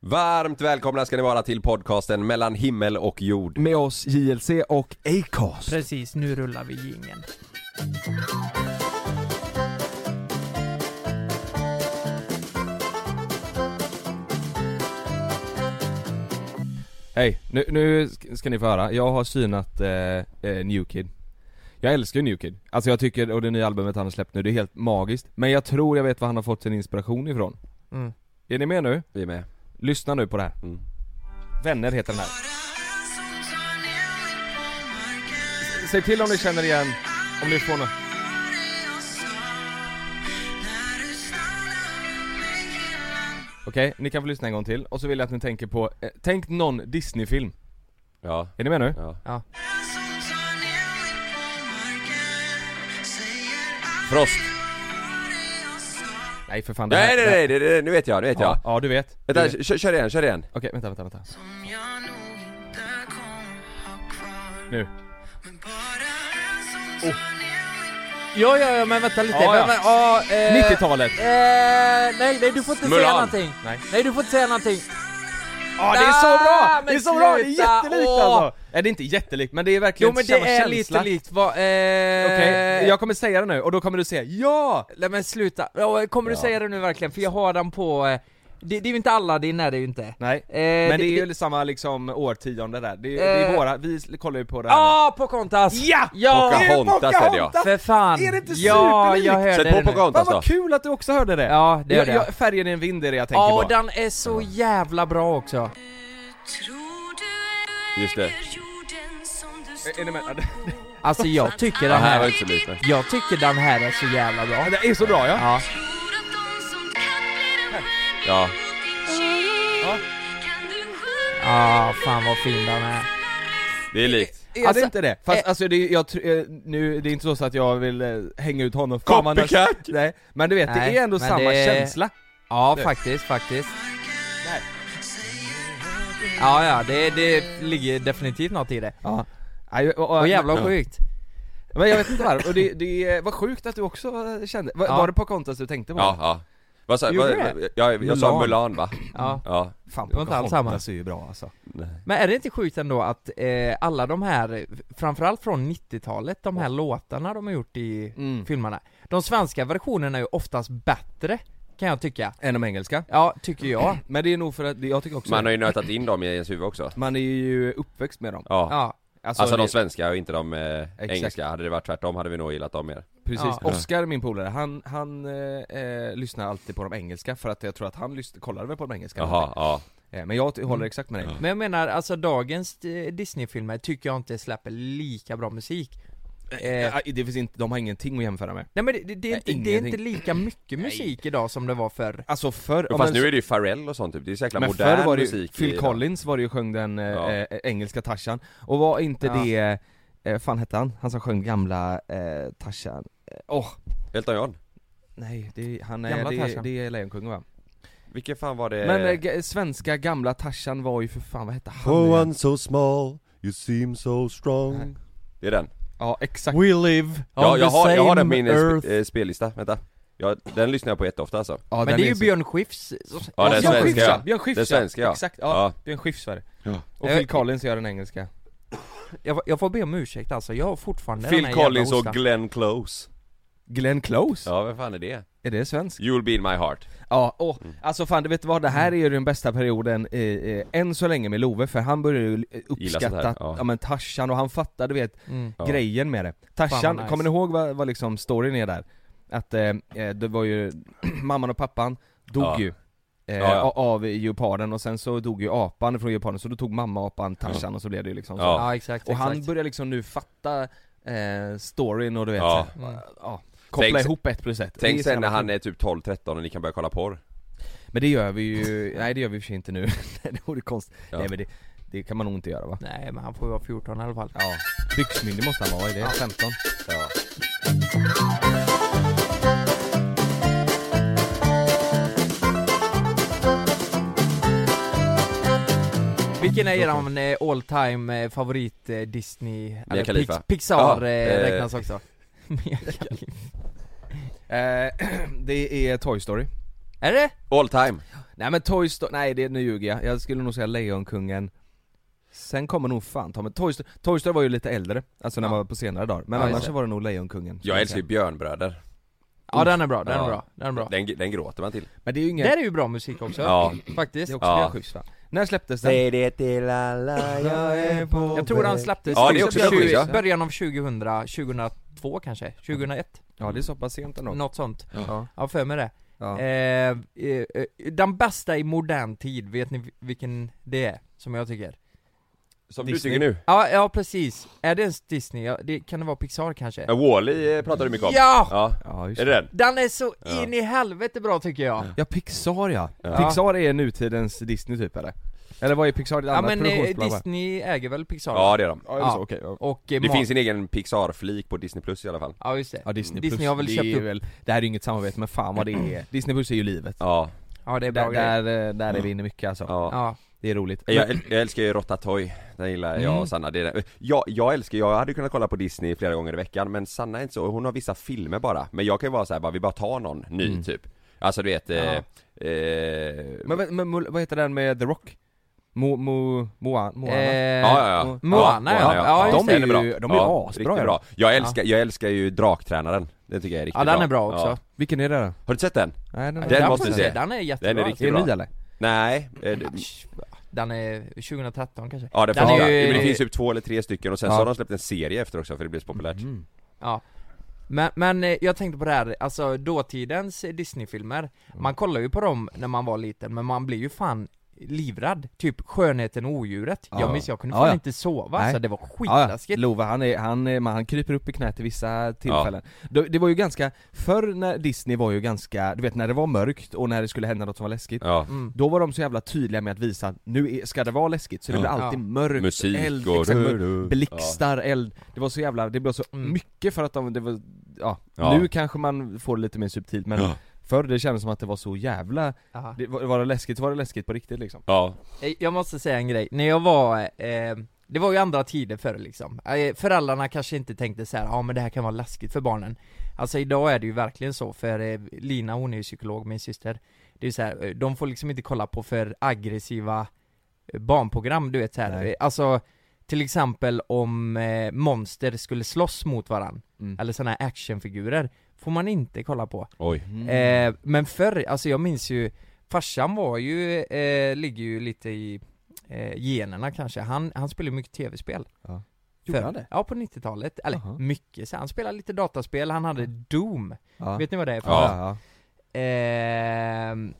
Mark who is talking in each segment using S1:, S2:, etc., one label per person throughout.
S1: Varmt välkomna ska ni vara till podcasten mellan himmel och
S2: Mm.
S1: jord.
S3: Med oss JLC och Acast.
S4: Precis, nu rullar vi jingeln.
S2: Hej, nu, nu sk- ska ni få höra. Jag har synat eh, eh, New Kid. Jag älskar ju New Kid. Alltså jag tycker, och det nya albumet han har släppt nu, det är helt magiskt. Men jag tror jag vet var han har fått sin inspiration ifrån.
S4: Mm.
S2: Är ni med nu?
S1: Vi är med.
S2: Lyssna nu på det här.
S1: Mm.
S2: Vänner heter den här. Säg till om ni känner igen, om ni får något. Okej, ni kan få lyssna en gång till. Och så vill jag att ni tänker på, eh, tänk någon Disney-film.
S1: Ja,
S2: Är ni med nu?
S1: ja.
S4: Ja.
S1: Frost.
S2: Nej för fan det
S1: Nej
S2: här-
S1: nej
S2: det här-
S1: nej, det- det- nu vet jag, nu vet jag.
S2: Ja, ja du vet. Du vet.
S1: Vänta, kör, kör igen, kör igen.
S2: Okej, vänta, vänta, vänta. Nu.
S4: Jo, jo, jo, men vänta lite.
S2: Ja, ja.
S4: Men, men, ja, eh,
S2: 90-talet!
S4: Eh, nej, nej, du får inte
S1: Mulan.
S4: säga någonting.
S2: Nej.
S4: Nej, du får inte säga någonting.
S2: Ja det är så bra!
S4: Ah,
S2: Det är
S4: men
S2: så bra! Det är
S4: sluta!
S2: jättelikt
S4: Åh!
S2: alltså! Nej det är inte jättelikt, men det är verkligen
S4: Jo, men
S2: samma
S4: det är
S2: känsla.
S4: lite likt vad... Eh,
S2: Okej, jag kommer säga det nu och då kommer du säga ja!
S4: Nej men sluta. Ja, Kommer du
S1: Ja.
S4: säga det nu verkligen? För jag har den på... Eh, det, det är ju inte Aladdin är det ju inte. Eh,
S2: Nej. Men det är ju samma liksom årtionde där, det är, det är
S4: Eh.
S2: våra, vi kollar ju på det här nu.
S4: Ja, Pocahontas!
S2: Ja!
S4: Ja!
S1: Pocahontas. säger jag.
S2: Pocahontas!
S4: För fan!
S2: Är det inte
S4: ja,
S2: superlikt?
S4: jag hörde
S1: Sätt
S4: det nu.
S1: på Pocahontas
S2: Fan
S1: då.
S2: vad kul att du också hörde det!
S4: Ja, det hörde
S2: jag,
S4: jag.
S2: jag, Färgen i en vind är det jag tänker
S4: Ja, och
S2: på.
S4: den är så jävla bra också.
S1: Just det.
S2: Är- är ni med? Ja, det-
S4: Alltså jag tycker
S1: Det
S4: den
S1: här var
S4: här...
S1: inte så likt men.
S4: Jag tycker den här är så jävla bra.
S2: Ja, Det är så bra ja!
S4: Ja.
S1: Ja.
S4: Ja, fan vad fin den är.
S1: Det är likt.
S2: Är
S4: Alltså,
S2: det inte det? Fast
S4: eh,
S2: alltså det, är- jag, tr- eh, nu, det är inte så att jag vill eh, hänga ut honom Fan, man har-
S1: Copycat!
S2: Nej, men du vet
S4: Nej,
S2: det är ändå
S4: men
S2: samma
S4: det-
S2: känsla
S4: Ja,
S2: Det.
S4: faktiskt, faktiskt. Ja, ja, det, det ligger definitivt något i det.
S2: Ja. Nej, och, och,
S4: Och jävla sjukt.
S2: Men jag vet inte varför, och det, det var sjukt att du också kände, var,
S4: Ja.
S2: var det på kontas du tänkte på?
S1: Ja, ja. Vad sa
S4: Gjorde
S1: vad,
S4: det?
S1: jag? Jag, jag sa
S2: Mulan.
S1: Mulan va?
S4: Ja.
S1: Ja.
S2: Fan
S4: Det var inte alls samma.
S2: Pocahontas är ju bra alltså
S4: Men är det inte sjukt ändå att eh, alla de här, framförallt från 90-talet, de här låtarna de har gjort i
S2: Mm.
S4: filmerna. De svenska versionerna är ju oftast bättre, kan jag tycka.
S2: Än de engelska?
S4: Ja, tycker jag.
S2: Men det är nog för att, det- jag tycker också
S1: Man har ju nötat in dem i ens huvud också.
S2: man är ju uppväxt med dem
S1: Ja.
S4: Ja.
S1: Alltså de
S2: det-
S1: svenska och inte de eh,
S2: Exakt.
S1: engelska. Hade det varit tvärtom hade vi nog gillat dem mer.
S2: Precis,
S4: Ja.
S2: Oscar min polare, han, han eh, eh, lyssnar alltid på de engelska för att jag tror att han lyssn- kollade väl på de engelska
S1: Jaha, ja.
S2: Eh, Men jag ty-
S4: Mm.
S2: håller exakt med dig
S4: Men jag menar, alltså dagens eh, Disney-filmer tycker jag inte släpper lika bra musik. Eh,
S2: Eh, Det finns inte, de har ingenting att jämföra med
S4: nej men det, det, det, är inte, det är
S2: ingenting.
S4: inte lika mycket musik idag som det var förr.
S2: Alltså förr,
S1: Jo,
S2: om
S1: Fast
S2: man-
S1: nu är det ju Pharrell och sånt typ, det är så jäkla
S2: men
S1: modern
S2: förr var det ju,
S1: musik i-
S2: Phil Collins var det ju sjöng den eh,
S1: Ja.
S2: eh, engelska Tarzan, och var inte
S4: Ja.
S2: det, eh, fan hette han? Han som sjöng gamla eh, Tarzan, Eh, åh,
S1: Elton John
S2: nej det, han
S4: Gamla
S2: är, det,
S4: Tarzan.
S2: det är Lejonkungen va?
S1: Vilken fan var det?
S2: Men eh, g- svenska gamla Tarzan var ju för fan, vad hette han?
S5: For
S2: igen?
S5: one Oh, so small, you seem so strong.
S1: det är den
S2: Ja exakt,
S5: We live
S1: Ja
S5: on
S1: jag
S5: the
S1: har, jag har den
S5: same
S1: på min eh,
S5: earth.
S1: sp- eh, spellista, vänta ja, Den lyssnar jag på jätteofta alltså
S2: ja,
S4: men det är ju Björn Skifs.
S1: Ja, den
S2: Björn
S1: svenska,
S2: Skifs
S1: ja.
S2: ja, Björn Skifs
S1: Den svenska, ja.
S2: Exakt, ja,
S1: Ja.
S2: Björn Skifs var det
S5: Ja.
S2: Och Phil Collins gör den engelska
S4: Jag, jag får be om ursäkt alltså, jag har fortfarande den
S1: Phil
S4: här jävla
S1: Collins och
S4: hostan.
S1: Glenn Close
S2: Glenn Close?
S1: Ja vem fan är det?
S2: Är det svensk?
S1: You'll be in my heart
S2: Ja, och
S1: Mm.
S2: alltså fan du vet vad, det här är ju den bästa perioden eh, eh, än så länge med Love, för han började ju eh,
S1: Gilla sånt här,
S2: uppskatta,
S1: ja.
S2: ja. men Tarzan och han fattade du vet
S4: Mm.
S1: Ja.
S2: grejen med det. Tarzan,
S4: Fan, vad nice.
S2: kommer ni ihåg vad, vad liksom storyn är där? Att eh, eh, det var ju, mamman och pappan dog
S1: Ja.
S2: ju eh,
S1: Ja, ja.
S2: a- av geoparden och sen så dog ju apan från geoparden, så då tog mamma apan Tarzan och så blev det ju liksom så.
S1: Ja.
S4: Ja, exakt,
S2: Och han
S4: exakt.
S2: börjar liksom nu fatta eh, storyn och du vet
S1: Ja.
S2: ja.
S4: Mm.
S2: ja. Koppla
S1: Tänk-
S2: ihop ett plus ett. Det är
S1: Tänk
S2: så
S1: sen
S2: jävla
S1: när han
S2: kul.
S1: är typ 12-13 och ni kan börja kolla porr
S2: Men det gör vi ju, nej det gör vi i och för sig inte nu, det vore konstigt.
S1: Ja.
S2: Nej men det, det kan man nog inte göra va?
S4: Nej men han får ju vara 14 i alla fall.
S2: Ja. Byxmyndig måste han vara, är det 15?
S1: ja.
S4: Vilken är eran eh, all time eh, favorit eh, Disney, eller
S1: Khalifa.
S4: Pix- Pixar
S1: Ja,
S4: eh,
S1: eh,
S4: räknas också? Mia Khalifa.
S2: Eh, det är Toy Story.
S4: är det?
S1: All time!
S2: Nej men Toy Story, nej det, nu ljuger jag. Jag skulle nog säga Lejonkungen Sen kommer nog fan ta men Toy Story, Toy Story var ju lite äldre, alltså när
S4: Ja.
S2: man var på senare dagar. Men
S4: Ja, just
S2: annars
S4: det.
S2: så var det nog Lejonkungen skulle
S1: Jag älskar ju
S2: säga.
S1: Björnbröder.
S4: Ja den är bra, den
S1: Ja.
S4: är bra, den är bra
S1: Den, den gråter man till.
S2: Men det är ju
S4: Det
S2: inget,
S4: där är ju bra musik också,
S1: Ja.
S4: faktiskt
S2: det är också
S1: Ja.
S2: ja. schysst va? När släpptes den?
S5: det till alla jag är på
S4: Jag tror han släpptes
S1: Ja, det är också
S4: i
S1: schysst, ja.
S4: början av 2000, 2002 kanske, 2001,
S2: Ja det är så pass sent ändå.
S4: något sånt
S2: Ja.
S4: Ja, för mig det
S2: Ja.
S4: Eh, eh, eh, den bästa i modern tid, vet ni vilken det är? Som jag tycker?
S1: Som
S2: Disney.
S1: du tycker nu.
S4: Ja, ja precis. Är det ens Disney? Ja, det, kan det vara Pixar kanske?
S1: Ja, Wall-E eh, pratar du mycket om.
S4: Ja!
S1: ja.
S2: Ja, just
S1: Är det den?
S4: Den är så
S1: Ja.
S4: in i helvete bra tycker jag!
S2: Ja Pixar ja.
S1: Ja.
S2: Pixar är nutidens Disney typ eller? Eller vad är Pixar? Ett
S4: Ja,
S2: annat
S4: men eh,
S2: produktionsbolag va?
S4: Disney äger väl Pixar?
S1: Ja det är de.
S2: Ja, är det så?
S4: Ja.
S2: Okej, ja.
S4: Och eh,
S1: Det
S4: Ma-
S1: finns en egen Pixar-flik på Disney plus i alla fall.
S4: Ja just det.
S2: Ja Disney,
S4: Disney
S2: Plus,
S4: har väl
S2: det
S4: köpt
S2: är
S4: upp- Mm.
S2: väl, det här är ju inget samarbete men fan vad det är Disney Plus är ju livet
S1: Ja.
S4: Ja det är bra
S2: där,
S4: grejer.
S2: där, eh, där är vi inne mycket alltså,
S1: ja.
S4: Ja.
S2: det är roligt
S1: Jag, äl- jag älskar ju Rottatoy, den gillar jag
S2: Mm.
S1: och Sanna. Det är det. Jag, jag älskar, jag hade kunnat kolla på Disney flera gånger i veckan men Sanna är inte så, hon har vissa filmer bara. Men jag kan ju vara så här, bara, vi bara tar någon ny
S2: Mm.
S1: typ. Alltså du vet, eh, eh,
S2: Men, vad- men vad heter den med The Rock? Mo, mo, Moana? Moana?
S4: Eh,
S1: ja, ja, ja.
S4: Moana, ja. Ja, just
S1: de
S4: det.
S1: är, bra.
S2: De är ju- de är ju
S1: ja,
S2: asbra,
S1: riktigt
S2: ja.
S1: bra. Jag älskar, jag älskar ju Draktränaren. Den tycker jag är riktigt
S4: ja den är bra också.
S1: Ja.
S2: Vilken är det då?
S1: Har du sett den?
S2: Nej, den,
S1: Den
S2: den
S1: måste
S4: får
S1: du
S4: jag
S1: se.
S4: Den är jättebra.
S1: Den är riktigt
S2: är
S1: bra.
S2: ny eller?
S1: Nej. eh, det-
S4: Den är 2013 kanske.
S1: Ja, den
S4: Ah, Den
S1: första.
S4: är ju-
S1: Men det finns ju typ två eller tre stycken och sen så
S2: Ja.
S1: har de släppt en serie efter också för det blev så populärt.
S2: Mm.
S4: Ja. Men, men eh, jag tänkte på det här, alltså dåtidens eh, Disney-filmer,
S2: Mm.
S4: man kollar ju på dem när man var liten men man blir ju fan livrädd. Typ Skönheten och Odjuret.
S2: Ja.
S4: Jag minns, jag kunde
S2: Ja,
S4: fan
S2: ja.
S4: inte sova,
S2: Nej.
S4: så det var
S2: Ja, ja.
S4: skitläskigt.
S2: Love han, är, han, är- man, han kryper upp i knät i vissa tillfällen Då- Det var ju ganska, förr när Disney var ju ganska, du vet när det var mörkt och när det skulle hända något som var läskigt
S1: Ja.
S4: Mm.
S2: Då var de så jävla tydliga med att visa, nu är, ska det vara läskigt, så det
S1: Ja.
S2: blir alltid
S4: Ja.
S2: mörkt,
S1: Musik
S2: eld,
S1: och
S2: exakt, mörkt,
S1: du- du-
S2: blixtar, eld Det var så jävla, det blev så
S4: Mm.
S2: mycket för att de, det var, ja,
S1: Ja.
S2: nu kanske man får det lite mer subtilt men
S1: Ja.
S2: förr det kändes som att det var så jävla,
S4: Ja.
S2: det, var, var det läskigt så var det läskigt på riktigt liksom
S1: Ja.
S4: Eh, Jag måste säga en grej, när jag var, eh, det var ju andra tider förr liksom. Eh, föräldrarna kanske inte tänkte så här, ja ah, men det här kan vara läskigt för barnen. Alltså idag är det ju verkligen så, för eh, Lina hon är ju psykolog, min syster. Det är så här, eh, de får liksom inte kolla på för aggressiva eh, barnprogram, du vet så här.
S2: Nej.
S4: Eh, Alltså, till exempel om eh, monster skulle slåss mot varann,
S2: Mm.
S4: eller sådana här actionfigurer, får man inte kolla på.
S1: Oj.
S2: Mm.
S4: Eh, men förr, alltså jag minns ju, farsan var ju, eh, ligger ju lite i eh, generna kanske, han, han spelade mycket tv-spel
S2: Ja. Gjorde
S4: Förr.
S2: han det?
S4: Ja, på 90-talet, eller
S2: Jaha.
S4: mycket så han spelade lite dataspel, han hade Doom,
S2: Ja.
S4: vet ni vad det är för
S1: Ja.
S2: ja. ja.
S4: Ehm,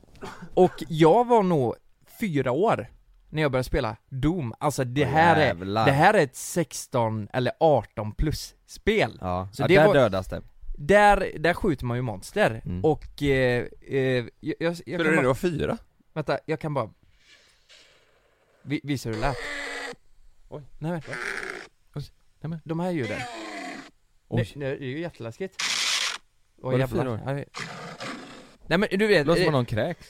S4: och jag var nog fyra år när jag började spela Doom, alltså det här är,
S2: Jävlar.
S4: det här är ett 16 eller 18 plus spel
S2: Ja,
S4: Så
S2: ja
S4: det
S2: där
S4: var-
S2: dödas det
S4: Där, där skjuter man ju monster,
S2: Mm.
S4: och eh, eh, jag, jag, jag
S1: Spelade du
S4: kan
S1: när
S4: bara,
S1: du var fyra?
S4: Vänta, jag kan bara Vi, Visa hur det lät
S1: Oj.
S4: Nej men Oj. Nej men, de här ljuden
S2: Oj.
S4: Nej, nej, det är ju jätteläskigt
S2: Var
S4: Åh
S2: det
S4: jävlar
S2: fyra år?
S4: Ja, det- Nej men du vet,
S2: Låter
S4: eh,
S2: som någon kräks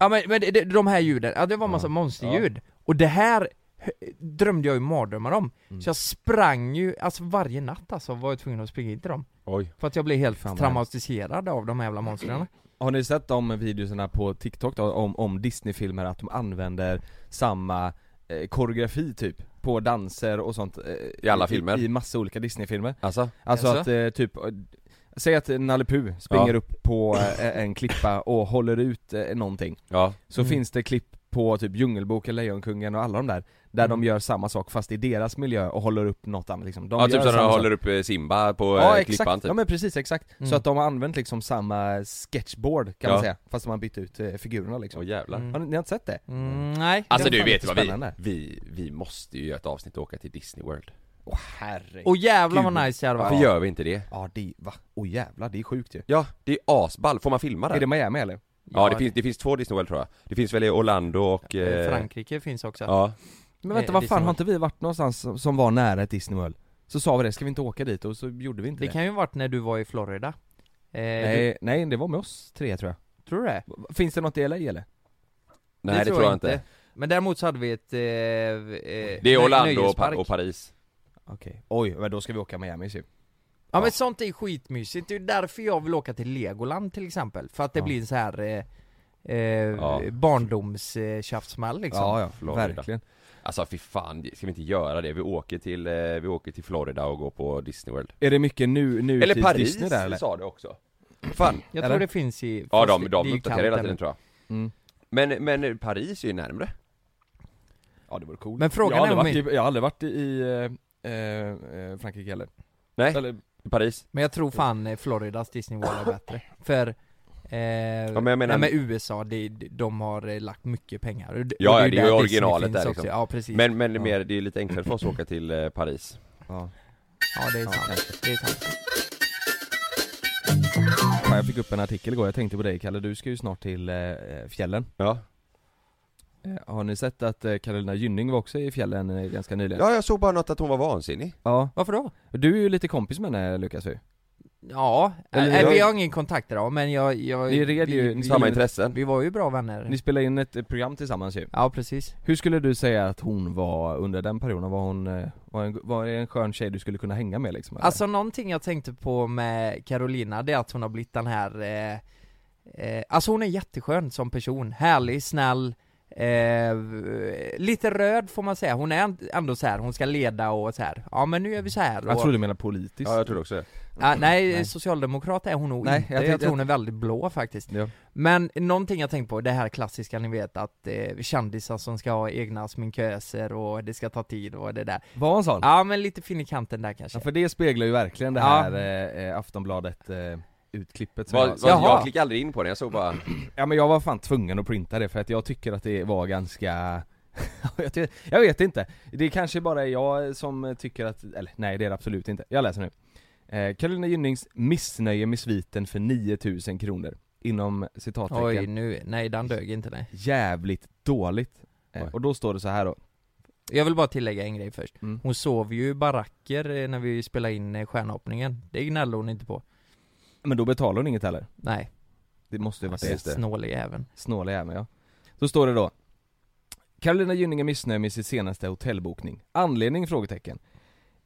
S4: ja men, men det- det- de här ljuden, ja det var massa
S2: Ja.
S4: monsterljud Och det här hö- drömde jag ju mardrömmar om
S2: Mm.
S4: Så jag sprang ju, alltså varje natt alltså var jag tvungen att springa in till dem
S1: Oj.
S4: För att jag blev helt
S2: Fan, vad Mm.
S4: traumatiserad av de här jävla monstren
S2: Har ni sett de videorna på TikTok då, om, om Disney-filmer att de använder samma eh, koreografi typ? På danser och sånt eh,
S1: I alla filmer?
S2: I, i massa olika Disney-filmer
S1: Alltså?
S2: Alltså
S4: Jaså?
S2: att eh, typ eh, Säg att Nalle Puh springer
S1: Ja.
S2: upp på eh, en klippa och håller ut eh, någonting
S1: Ja.
S2: Så
S4: Mm.
S2: finns det klipp på typ Djungelboken, Lejonkungen och alla de där Där
S4: Mm.
S2: de gör samma sak fast i deras miljö och håller upp något annat liksom de
S1: ja,
S2: gör
S1: typ så när
S2: samma
S1: de
S2: sak.
S1: håller upp eh, Simba på
S2: Ja
S1: eh, klippan
S2: exakt,
S1: typ.
S2: ja men precis exakt. Så
S4: Mm.
S2: att de har använt liksom samma sketchboard kan
S1: Ja.
S2: man säga, fast man har bytt ut eh, figurerna liksom.
S1: Åh jävlar.
S4: Mm.
S2: Har ni, ni har inte sett det?
S4: Mm, nej
S1: Alltså
S2: Det är
S1: du
S2: fan
S1: vet
S2: lite
S1: vad vi,
S2: spännande.
S1: vi, vi måste ju göra ett avsnitt och åka till Disney World.
S2: Åh herregud.
S4: Och jävlar vad
S2: Gud.
S4: nice det hade
S1: Varför
S4: varit
S1: gör vi inte det?
S2: Ja det, va? Åh jävlar, det är sjukt ju.
S1: Ja, det är asball. Får man filma
S2: Är
S1: där?
S2: det Miami eller?
S1: Ja, det finns, det finns två Disney World tror jag. Det finns väl i Orlando och...
S4: Eh,
S1: Eh...
S4: Frankrike finns också
S1: Ja.
S2: Men
S4: vänta,
S2: vänta, vad
S4: Eh, vad fan, Disney
S2: fan
S4: har
S2: har
S4: inte
S2: inte vi varit någonstans som, var nära ett Disney World? Så sa vi det, ska vi inte åka dit? Och så gjorde vi inte
S4: Det
S2: det.
S4: kan ju varit när du var i Florida eh,
S2: Nej, nej, det var med oss tre tror
S4: du, Tror du det?
S2: jag. Finns det något i LA eller?
S1: Nej, det, tror jag inte.
S4: Men däremot så hade vi ett... Eh, eh,
S1: Det är
S4: nö-
S1: Orlando och,
S4: nöjespark.
S1: pa- och Paris.
S2: Okej. Oj, men då ska vi åka Miami typ.
S4: Ja men sånt är skitmysigt, det är ju därför jag vill åka till Legoland till exempel För att det
S2: Ja.
S4: blir en så här eh, eh, barndomstjafsmall liksom
S2: Ja, ja,
S1: Florida.
S2: verkligen.
S1: Alltså fy fan, ska vi inte göra det? Vi åker till, eh, vi åker till Florida och går på Disney World
S2: Är det mycket nu, nu
S1: Eller Paris
S2: Disney där eller?
S1: sa du också Fan,
S4: Jag
S2: Eller?
S4: tror det finns i...
S1: ja
S4: fast
S1: de,
S4: det-
S1: de
S4: det är ju
S1: uppdaterar
S4: kallt
S1: hela tiden
S4: ännu.
S1: tror jag
S2: Mm.
S1: Men, men Paris är ju närmre
S2: Ja det vore coolt.
S4: Men frågan
S2: jag, har
S4: är om
S2: aldrig
S4: vi-
S2: varit i, jag har aldrig varit i eh, eh, Frankrike heller.
S1: Nej.
S2: Eller,
S1: Paris
S4: Men jag tror fan eh, Floridas Disney World är bättre. För Eh, ja,
S1: men jag menar-
S4: nej, men USA, de, de har eh, lagt mycket pengar. Och d-
S1: Ja, ja,
S4: och
S1: det är ju
S4: där Disney
S1: originalet
S4: finns
S1: där,
S4: också.
S1: liksom.
S4: Ja precis.
S1: Men, men det är
S2: Ja.
S1: mer, det är lite enklare för oss att åka till eh, Paris
S2: ja.
S4: ja det är
S2: Ja,
S4: sant. Det är sant.
S2: Fan, jag fick upp en artikel igår, jag tänkte på dig Kalle, du ska ju snart till eh, fjällen.
S1: Ja,
S2: Eh, har ni sett att eh, Carolina Gynning var också i fjällen eh, ganska nyligen?
S1: ja jag såg bara något att hon var vansinnig
S2: ja.
S4: Varför då?
S2: Du är ju lite kompis med henne Lukas
S1: Mm.
S2: ju.
S4: Ja,
S2: Eller
S4: eh,
S2: jag-
S4: vi har ingen kontakt idag men jag... jag
S2: Ni red ju-
S4: vi,
S1: Samma
S2: Vi-
S1: intressen
S4: vi var ju bra vänner.
S2: Ni spelade in ett eh, program tillsammans ju.
S4: Ja precis.
S2: Hur skulle du säga att hon var under den perioden? Var hon, eh, var en, var det en skön tjej du skulle kunna hänga med liksom? eller?
S4: Alltså någonting jag tänkte på med Carolina, det är att hon har blivit den här eh, eh, Alltså hon är jätteskön som person, härlig, snäll eh, Lite röd får man säga, hon är ändå så här, hon ska leda och så här. Ja men nu gör vi så här och,
S2: jag tror du menar politiskt.
S1: Ja jag tror också det
S4: Ah, nej,
S2: Nej.
S4: socialdemokrat är hon nog
S2: Nej,
S4: inte,
S2: jag
S4: jag,
S2: tänkte-
S4: tror hon är väldigt blå faktiskt
S2: Ja.
S4: Men någonting jag tänkt på, det här klassiska ni vet att eh, kändisar som ska ha egna sminköser och det ska ta tid och det där
S2: Var hon sån?
S4: Ja men lite fin i kanten där kanske
S2: Ja, för det speglar ju verkligen det
S4: Ja.
S2: här eh, eh, Aftonbladet eh, utklippet som
S1: Vad-
S2: jag,
S1: vad-
S4: Jaha.
S1: Jag klickade aldrig in på den, jag såg bara
S2: Ja men jag var fan tvungen att printa det för att jag tycker att det var ganska jag, ty- jag vet inte, det kanske bara är jag som tycker att, eller nej det är det absolut inte, jag läser nu eh, Carolina Gynnings missnöje med sviten för 9000 kronor Inom
S4: Oj
S2: citattecken
S4: nu, nej den dög inte nej
S2: Jävligt dåligt eh,
S1: Oj.
S2: Och då står det så här då
S4: Jag vill bara tillägga en grej först.
S2: Mm.
S4: Hon sov ju i baracker eh, när vi spelade in eh, stjärnhoppningen. Det gnällde hon inte på.
S2: Men då betalar hon inget heller
S4: Nej,
S2: Det måste ju varit det
S4: snålig även.
S2: Snåla jäveln ja. Då står det då Carolina Gynning är missnöjd med sin senaste hotellbokning. Anledning? Frågetecken.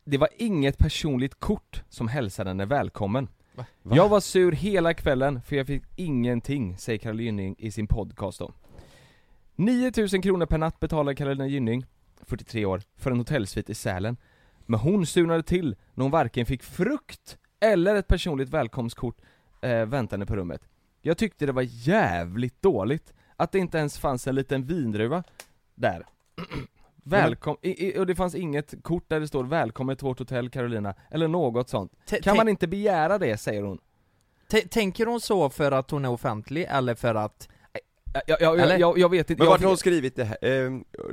S2: Det var inget personligt kort som hälsade henne välkommen.
S4: Va?
S2: Jag var sur hela kvällen för jag fick ingenting, säger Carolina Gynning i sin podcast då. 9000 kronor per natt betalar Carolina Gynning, 43 år, för en hotellsvit i Sälen. Men hon surnade till när hon varken fick frukt eller ett personligt välkomstkort eh, väntande på rummet. Jag tyckte det var jävligt dåligt att det inte ens fanns en liten vindruva där. Välkom i, i, och det fanns inget kort där det står 'Välkommen till vårt hotell Carolina' eller något sånt.
S4: T-
S2: Kan
S4: tänk-
S2: man inte begära det, säger hon.
S4: t- Tänker hon så för att hon är offentlig eller för att...
S2: Eh, Jag, jag, jag,
S4: Eller?
S2: jag, jag vet inte.
S1: Men
S2: jag,
S1: varför har hon skrivit det här? Eh,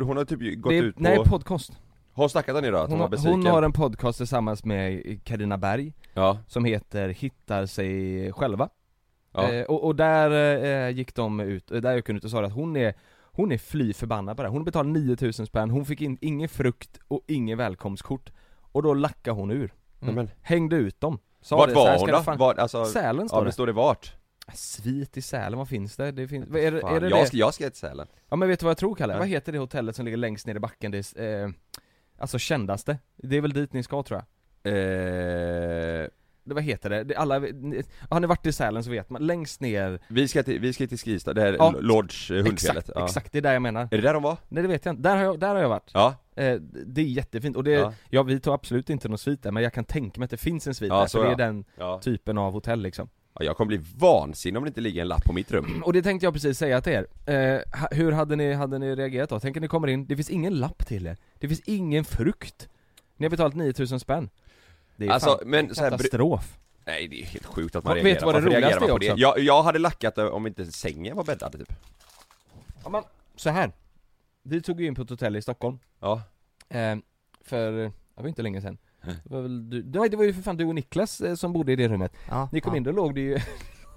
S1: hon har typ ju gått
S2: det,
S1: ut på...
S2: Nej,
S1: Nej,
S2: podcast.
S1: har hon snackat om det idag? Att hon,
S2: Hon,
S1: var
S2: har-
S1: besviken?
S2: hon har en podcast tillsammans med Karina Berg,
S1: Ja,
S2: som heter 'Hittar sig själva'
S1: ja,
S2: eh, och, och där eh, gick de ut, eh, där gick hon ut och sa att hon är hon är fly förbannad på det här. Hon betalade 9000 spänn, hon fick in, ingen frukt och ingen välkomstkort Och då lackade hon ur,
S1: Nej, men,
S2: hängde ut dem Sa
S1: Mm. Vart
S2: det, så här
S1: var
S2: ska
S1: hon
S2: det
S1: då?
S2: fan-
S1: Var, alltså,
S2: Sälen
S1: ja
S2: står
S1: men
S2: det
S1: står det vart?
S2: Svit i Sälen, vad finns det? Det finns, vad är det,
S1: Fan,
S2: är det,
S1: jag,
S2: det?
S1: ska, jag ska till Sälen
S2: Ja men vet du vad jag tror Kalle?
S1: Nej.
S2: Vad heter det hotellet som ligger längst ner i backen? Det är, eh, alltså kändaste Det är väl dit ni ska tror jag
S1: eh,
S2: det, Vad heter det? det alla, ni, har ni varit i Sälen så vet man, längst ner
S1: Vi ska till, vi ska till Skistad, det här
S2: Ja.
S1: Lodge, eh, hundfjället
S2: Exakt, exakt, det är där jag menar
S1: Är det där de var?
S2: Nej det vet jag inte, där har jag, där har jag varit
S1: Ja,
S2: Eh, det är jättefint, och det, ja.
S1: Ja.
S2: vi tar absolut inte någon svit där men jag kan tänka mig att det finns en svit
S1: Ja,
S2: där,
S1: så
S2: för det är
S1: ja.
S2: den
S1: ja.
S2: typen av hotell liksom
S1: ja jag kommer bli vansinnig om det inte ligger en lapp på mitt rum
S2: Och det tänkte jag precis säga till er, eh, ha- hur hade ni, hade ni reagerat då? Tänk att ni kommer in, det finns ingen lapp till er, det finns ingen frukt Ni har betalat 9000 spänn Det är
S1: Alltså,
S2: fan
S1: men så här, br-
S2: katastrof
S1: Nej det är helt sjukt att man
S2: Och vet
S1: reagerar,
S2: du vad det
S1: Varför reagerar
S2: roligaste
S1: man på
S2: är också?
S1: det? Jag, jag hade lackat eh, om inte sängen var bäddad typ
S2: ja, men, så här. vi tog ju in på ett hotell i Stockholm
S1: Ja,
S2: Eh, för, ja, det var inte länge sedan det var, väl du, det var- det var ju för fan du och Niklas eh, som bodde i det rummet
S4: Ja,
S2: Ni kom
S4: ja.
S2: in, då låg det ju, det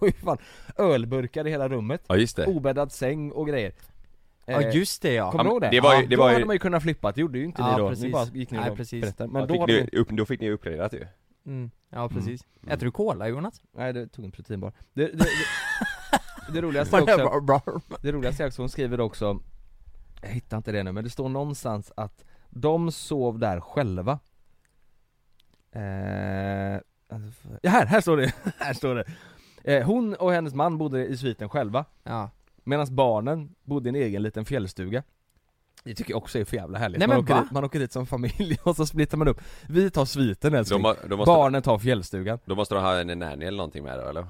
S2: var ju fan ölburkar i hela rummet
S1: ja just
S4: Oh,
S1: det
S2: Obäddad säng och grejer Eh,
S4: Ja just det ja.
S2: Kommer du ihåg det?
S1: det var ju-
S2: Ja,
S1: det
S2: då
S1: var ju-
S2: hade man ju kunnat flippa, det gjorde ju inte
S4: Ja,
S2: ni då, ni
S4: precis.
S2: bara gick ner
S4: Nej,
S2: och
S4: precis.
S2: berättade
S1: Men
S2: Men
S1: då,
S2: då
S1: fick
S2: hade
S1: ni,
S2: ni...
S1: upp, då fick ni uppgraderat ju
S4: Mm. Ja precis. Äter du cola Jonas?
S2: Nej det tog en proteinbar Det, det, det, det roligaste är också, det roligaste är också, hon skriver också Jag hittar inte det nu, men det står någonstans att de sov där själva eh, alltså, ja, här, här står det, här står det eh, Hon och hennes man bodde i sviten själva
S4: Ja.
S2: Medan barnen bodde i en egen liten fjällstuga Det tycker jag också är för jävla härligt
S4: Nej,
S2: man,
S4: men
S2: åker
S4: va?
S2: dit, man åker dit som familj och så splittar man upp Vi tar sviten älskling,
S1: De, har- de, måste,
S2: barnen tar fjällstugan
S1: de måste ha en nanny eller någonting med det eller?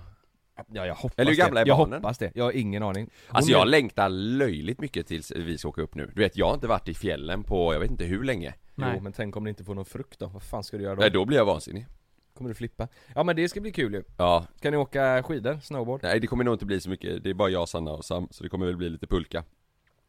S2: Ja jag hoppas
S1: Eller hur gamla
S2: det,
S1: är
S2: jag
S1: barnen?
S2: hoppas det, jag har ingen aning Hon
S1: Alltså jag
S2: är-
S1: längtar löjligt mycket tills vi ska åka upp nu. Du vet, jag har inte varit i fjällen på jag vet inte hur länge.
S2: Jo
S4: Nej.
S2: men tänk om du inte får någon frukt då, vad fan ska du göra då?
S1: Nej, då blir jag vansinnig.
S2: Kommer du flippa? Ja men det ska bli kul ju,
S1: Ja,
S2: ska ni åka skidor, snowboard?
S1: nej det kommer nog inte bli så mycket. Det är bara jag, Sanna och Sam, så det kommer väl bli lite pulka.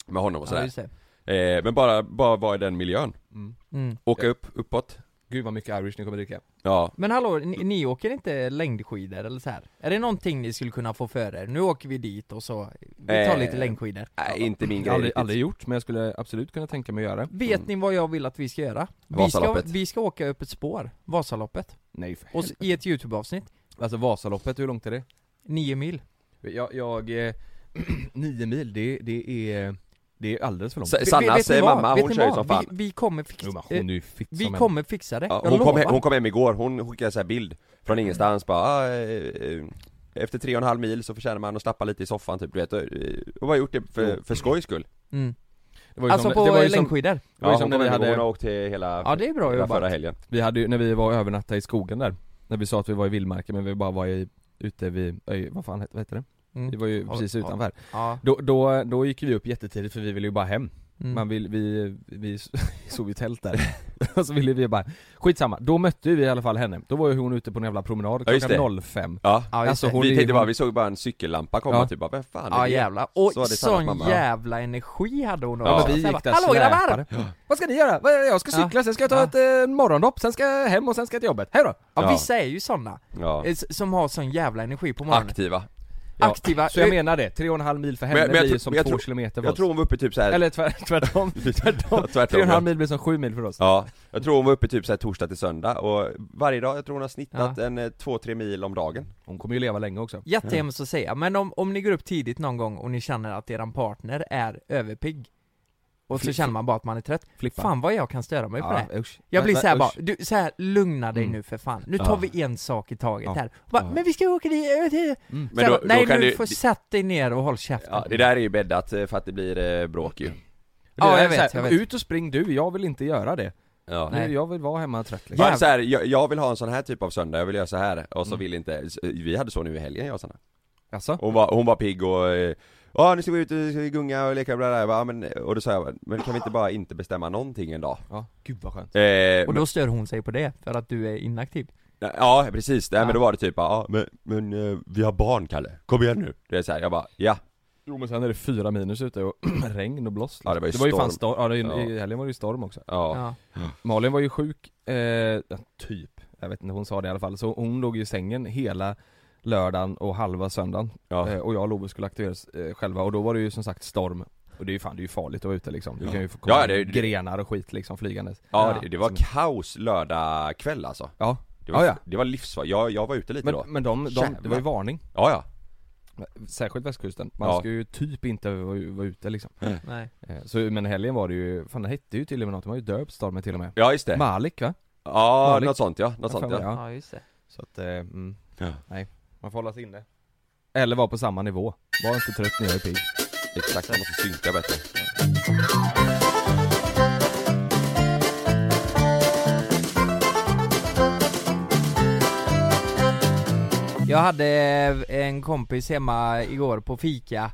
S1: Med honom och
S4: Ja,
S1: sådär.
S4: just det.
S1: eh, men bara, bara vara i den miljön.
S2: Mm.
S4: Mm.
S1: Åka upp, uppåt.
S2: Gud vad mycket irish ni kommer dricka
S1: Ja,
S4: Men hallå, ni, ni åker inte längdskidor eller så här? Är det någonting ni skulle kunna få för er? Nu åker vi dit och så, vi tar
S1: Eh,
S4: lite längdskidor
S1: nej inte min
S2: Jag
S1: grej
S2: har aldrig,
S1: riktigt.
S2: aldrig gjort, men jag skulle absolut kunna tänka mig att göra det
S4: Vet ni vad jag vill att vi ska göra? Vi ska,
S1: Vasaloppet.
S4: vi ska åka upp ett spår, Vasaloppet,
S2: Nej för
S4: och s- i ett YouTube-avsnitt,
S2: Alltså Vasaloppet, hur långt är det?
S4: nio mil
S2: Jag, jag eh, nio mil, det, det är, det är alldeles för långt
S1: Sa- Sannas
S4: ni
S1: eh,
S4: vad?
S1: mamma,
S4: Vet
S1: hon
S4: ni
S1: kör ju
S4: vad?
S1: som fan.
S4: Vi, vi kommer fixa,
S2: Jo men hon är ju fitt
S4: vi
S2: som en-
S4: kommer fixa det,
S1: Ja,
S4: jag
S1: hon, kom
S4: lovar
S1: hem, hon kom hem igår, hon skickade så här bild Från ingenstans bara, ah, eh, eh, efter tre och en halv mil så förtjänar man att slappa lite i soffan typ, du vet Och, eh, och bara gjort det för, för skojs skull
S4: mm.
S2: Det var ju
S4: Alltså
S2: som,
S4: på
S2: det var ju som,
S4: längdskidor?
S2: det var ju
S1: Ja,
S2: som
S1: hon
S2: när
S1: kom
S2: vi
S1: hem igår, hon
S2: hade,
S1: har åkt till hela,
S4: Ja det är bra
S1: hela förra
S4: jobbat
S1: helgen
S2: vi hade ju, när vi var och övernattade i skogen där När vi sa att vi var i vildmarken men vi bara var i, ute vid, öj, vad fan het- vad heter det? Vi
S4: mm.
S2: var ju
S4: Ja,
S2: precis
S4: ja.
S2: utanför
S4: Ja,
S2: då, då, då gick vi upp jättetidigt för vi ville ju bara hem
S4: mm.
S2: Man vill, vi, vi sov ju tält där Och så ville vi bara, skitsamma, då mötte vi i alla fall henne Då var ju hon ute på en jävla promenad
S1: Ja, just
S2: klockan 05
S1: Ja,
S4: ja, just
S2: alltså,
S4: det.
S2: hon
S1: vi
S2: är-
S1: tänkte bara,
S2: hon-
S1: vi såg bara en cykellampa komma
S2: Ja.
S1: typ, bara, vem fan
S4: Ja
S1: är det?
S4: jävla, och
S1: Så var det Sannas
S4: sån
S1: mamma.
S4: jävla energi hade hon
S1: Ja,
S2: Ja,
S4: också.
S2: men vi
S4: Så här
S2: gick där
S4: bara, Hallå grabbar!
S2: släpade. Vad ska ni göra? Vad- Jag ska
S4: Ja.
S2: cykla, sen ska jag ta
S4: Ja.
S2: ett eh, morgondopp, sen ska jag hem och sen ska jag till jobbet. Hej då!
S4: Ja,
S1: Ja.
S4: vissa är ju sådana,
S1: ja.
S4: som har sån jävla energi på morgonen
S1: Aktiva
S2: Ja.
S4: Aktiva, Eh,
S2: Så jag menar det, tre och en halv mil för henne
S1: Men- men jag
S2: blir
S1: tror-
S2: ju som
S1: jag
S2: två
S1: tror-
S2: kilometer för
S1: Jag
S2: oss.
S1: tror hon var uppe typ såhär
S2: Eller tvär, tvärtom, tvärtom. Tre och en
S1: ja.
S2: halv mil blir som sju mil för oss.
S1: Ja, jag tror hon var uppe typ såhär torsdag till söndag och varje dag, jag tror hon har snittat en eh, två, tre mil om dagen
S2: Hon kommer ju leva länge också.
S4: jättehemskt att säga, men om, om ni går upp tidigt någon gång och ni känner att eran partner är överpigg och så
S2: Fli-
S4: känner man bara att man är trött,
S2: Flippa.
S4: fan vad jag kan störa mig på det
S2: usch.
S4: jag blir
S2: Men-
S4: såhär
S2: usch.
S4: bara, du, så här, lugna dig
S2: Mm.
S4: nu för fan, nu tar
S1: Ja.
S4: vi en sak i taget
S2: Ja.
S4: här. Och Bara,
S1: Ja.
S4: Men vi ska åka dit, äh, äh."
S2: Mm.
S1: Men
S4: Så
S1: då-
S4: jag bara, nej
S1: då kan
S4: nu
S1: du-
S4: får sätt dig ner och håll käften.
S1: Ja, det där är ju bäddat eh, för att det blir eh, bråk ju
S2: Det är
S4: Ja, jag
S2: så här,
S4: vet, jag vet.
S2: Ut och spring du, jag vill inte göra det.
S1: Ja.
S4: Nej.
S2: Jag vill vara hemma trött liksom.
S1: Bara
S4: Jävlar.
S1: så här, jag, jag vill ha en sån här typ av söndag, jag vill göra så här och så
S2: Mm.
S1: vill inte, så- vi hade så nu i helgen jag och Sanna
S2: Alltså?
S1: Hon var, hon var pigg och, eh, ja nu ska vi ut och ska vi gunga och leka och bla bla, bla. Ja, men, och då sa jag, men kan vi inte bara inte bestämma någonting en dag?
S2: Ja, gud vad skönt.
S1: Eh,
S4: Och
S1: men,
S4: då stör hon sig på det, för att du är inaktiv.
S1: ja precis, Nej,
S4: Ja.
S1: men då var det typ, ja men, men eh, vi har barn Kalle, kom igen nu! Det är så här, jag bara, ja,
S2: Jo men sen är det fyra minus ute och regn och blåst.
S1: Ja, det var ju
S2: det var ju fan
S1: storm.
S2: storm, ja, det,
S1: Ja.
S2: i helgen var det ju storm också.
S1: ja, ja.
S2: Malin var ju sjuk, eh, ja, typ, jag vet inte, hon sa det i alla fall, så hon låg ju i sängen hela lördagen och halva söndagen eh, och jag och Love skulle aktiveras eh, själva och då var det ju som sagt storm och det är ju fan, det är ju farligt att vara ute liksom, du
S1: Ja.
S2: kan ju få komma
S1: Ja, det- det-
S2: grenar och skit liksom flygandes
S1: Ja, det, det var
S2: Som-
S1: kaos lördag kväll alltså
S2: Ja,
S1: Det var,
S2: Ja, ja.
S1: Det var livsfarligt, jag, jag var ute lite
S2: men,
S1: då
S2: men de, de, det var
S1: Jävlar.
S2: ju varning,
S1: Ja ja,
S2: särskilt västkusten, man
S1: Ja.
S2: ska ju typ inte vara, vara ute liksom
S4: Nej.
S2: eh, Så men helgen var det ju, fan det hette ju till och med något, de har ju döpt stormen till och med
S1: ja just det,
S2: Malik va?
S1: ja
S2: Malik.
S1: något sånt ja, något sånt
S2: fan,
S1: ja
S4: Ja, just det.
S2: Så att, eh, mm.
S1: Ja.
S2: nej, man får hålla sig inne Eller vara på samma nivå, var inte trött när jag är pigg
S1: Exakt, man måste synka bättre
S4: Jag hade eh, en kompis hemma igår på fika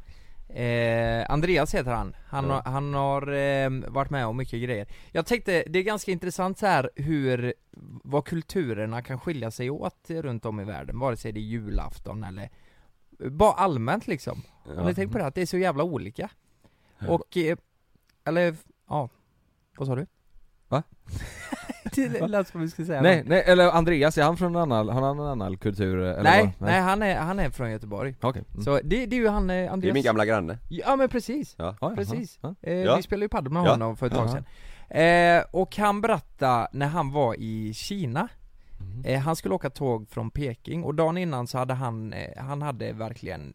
S4: eh, Andreas heter han, han,
S1: Ja.
S4: har- han har eh, varit med om mycket grejer Jag tänkte, det är ganska intressant så här hur, vad kulturerna kan skilja sig åt runt om i världen Vare sig det är julafton eller, eh, bara allmänt liksom Har ni
S1: ja.
S4: tänkt på det? Att det är så jävla olika? Och, eh, eller, ja, vad sa du?
S2: Va?
S4: det lät som vi skulle säga
S2: Nej,
S4: något.
S2: nej, eller Andreas, är han från en annan, har han en annan kultur eh, eller
S4: nej,
S2: vad?
S4: nej han, är, han är från Göteborg
S2: Okej Mm.
S4: Så det, det är ju han, eh,
S1: Det är
S4: Andreas
S1: min gamla granne
S4: Ja men precis,
S1: Ja,
S2: Ja, ja,
S4: precis.
S2: ja.
S4: Eh,
S1: Ja.
S4: Vi spelade ju padel med
S1: Ja.
S4: honom för ett tag
S2: Ja.
S4: sedan eh, Och han berättade när han var i Kina
S2: Mm.
S4: eh, Han skulle åka tåg från Peking och dagen innan så hade han, eh, han hade verkligen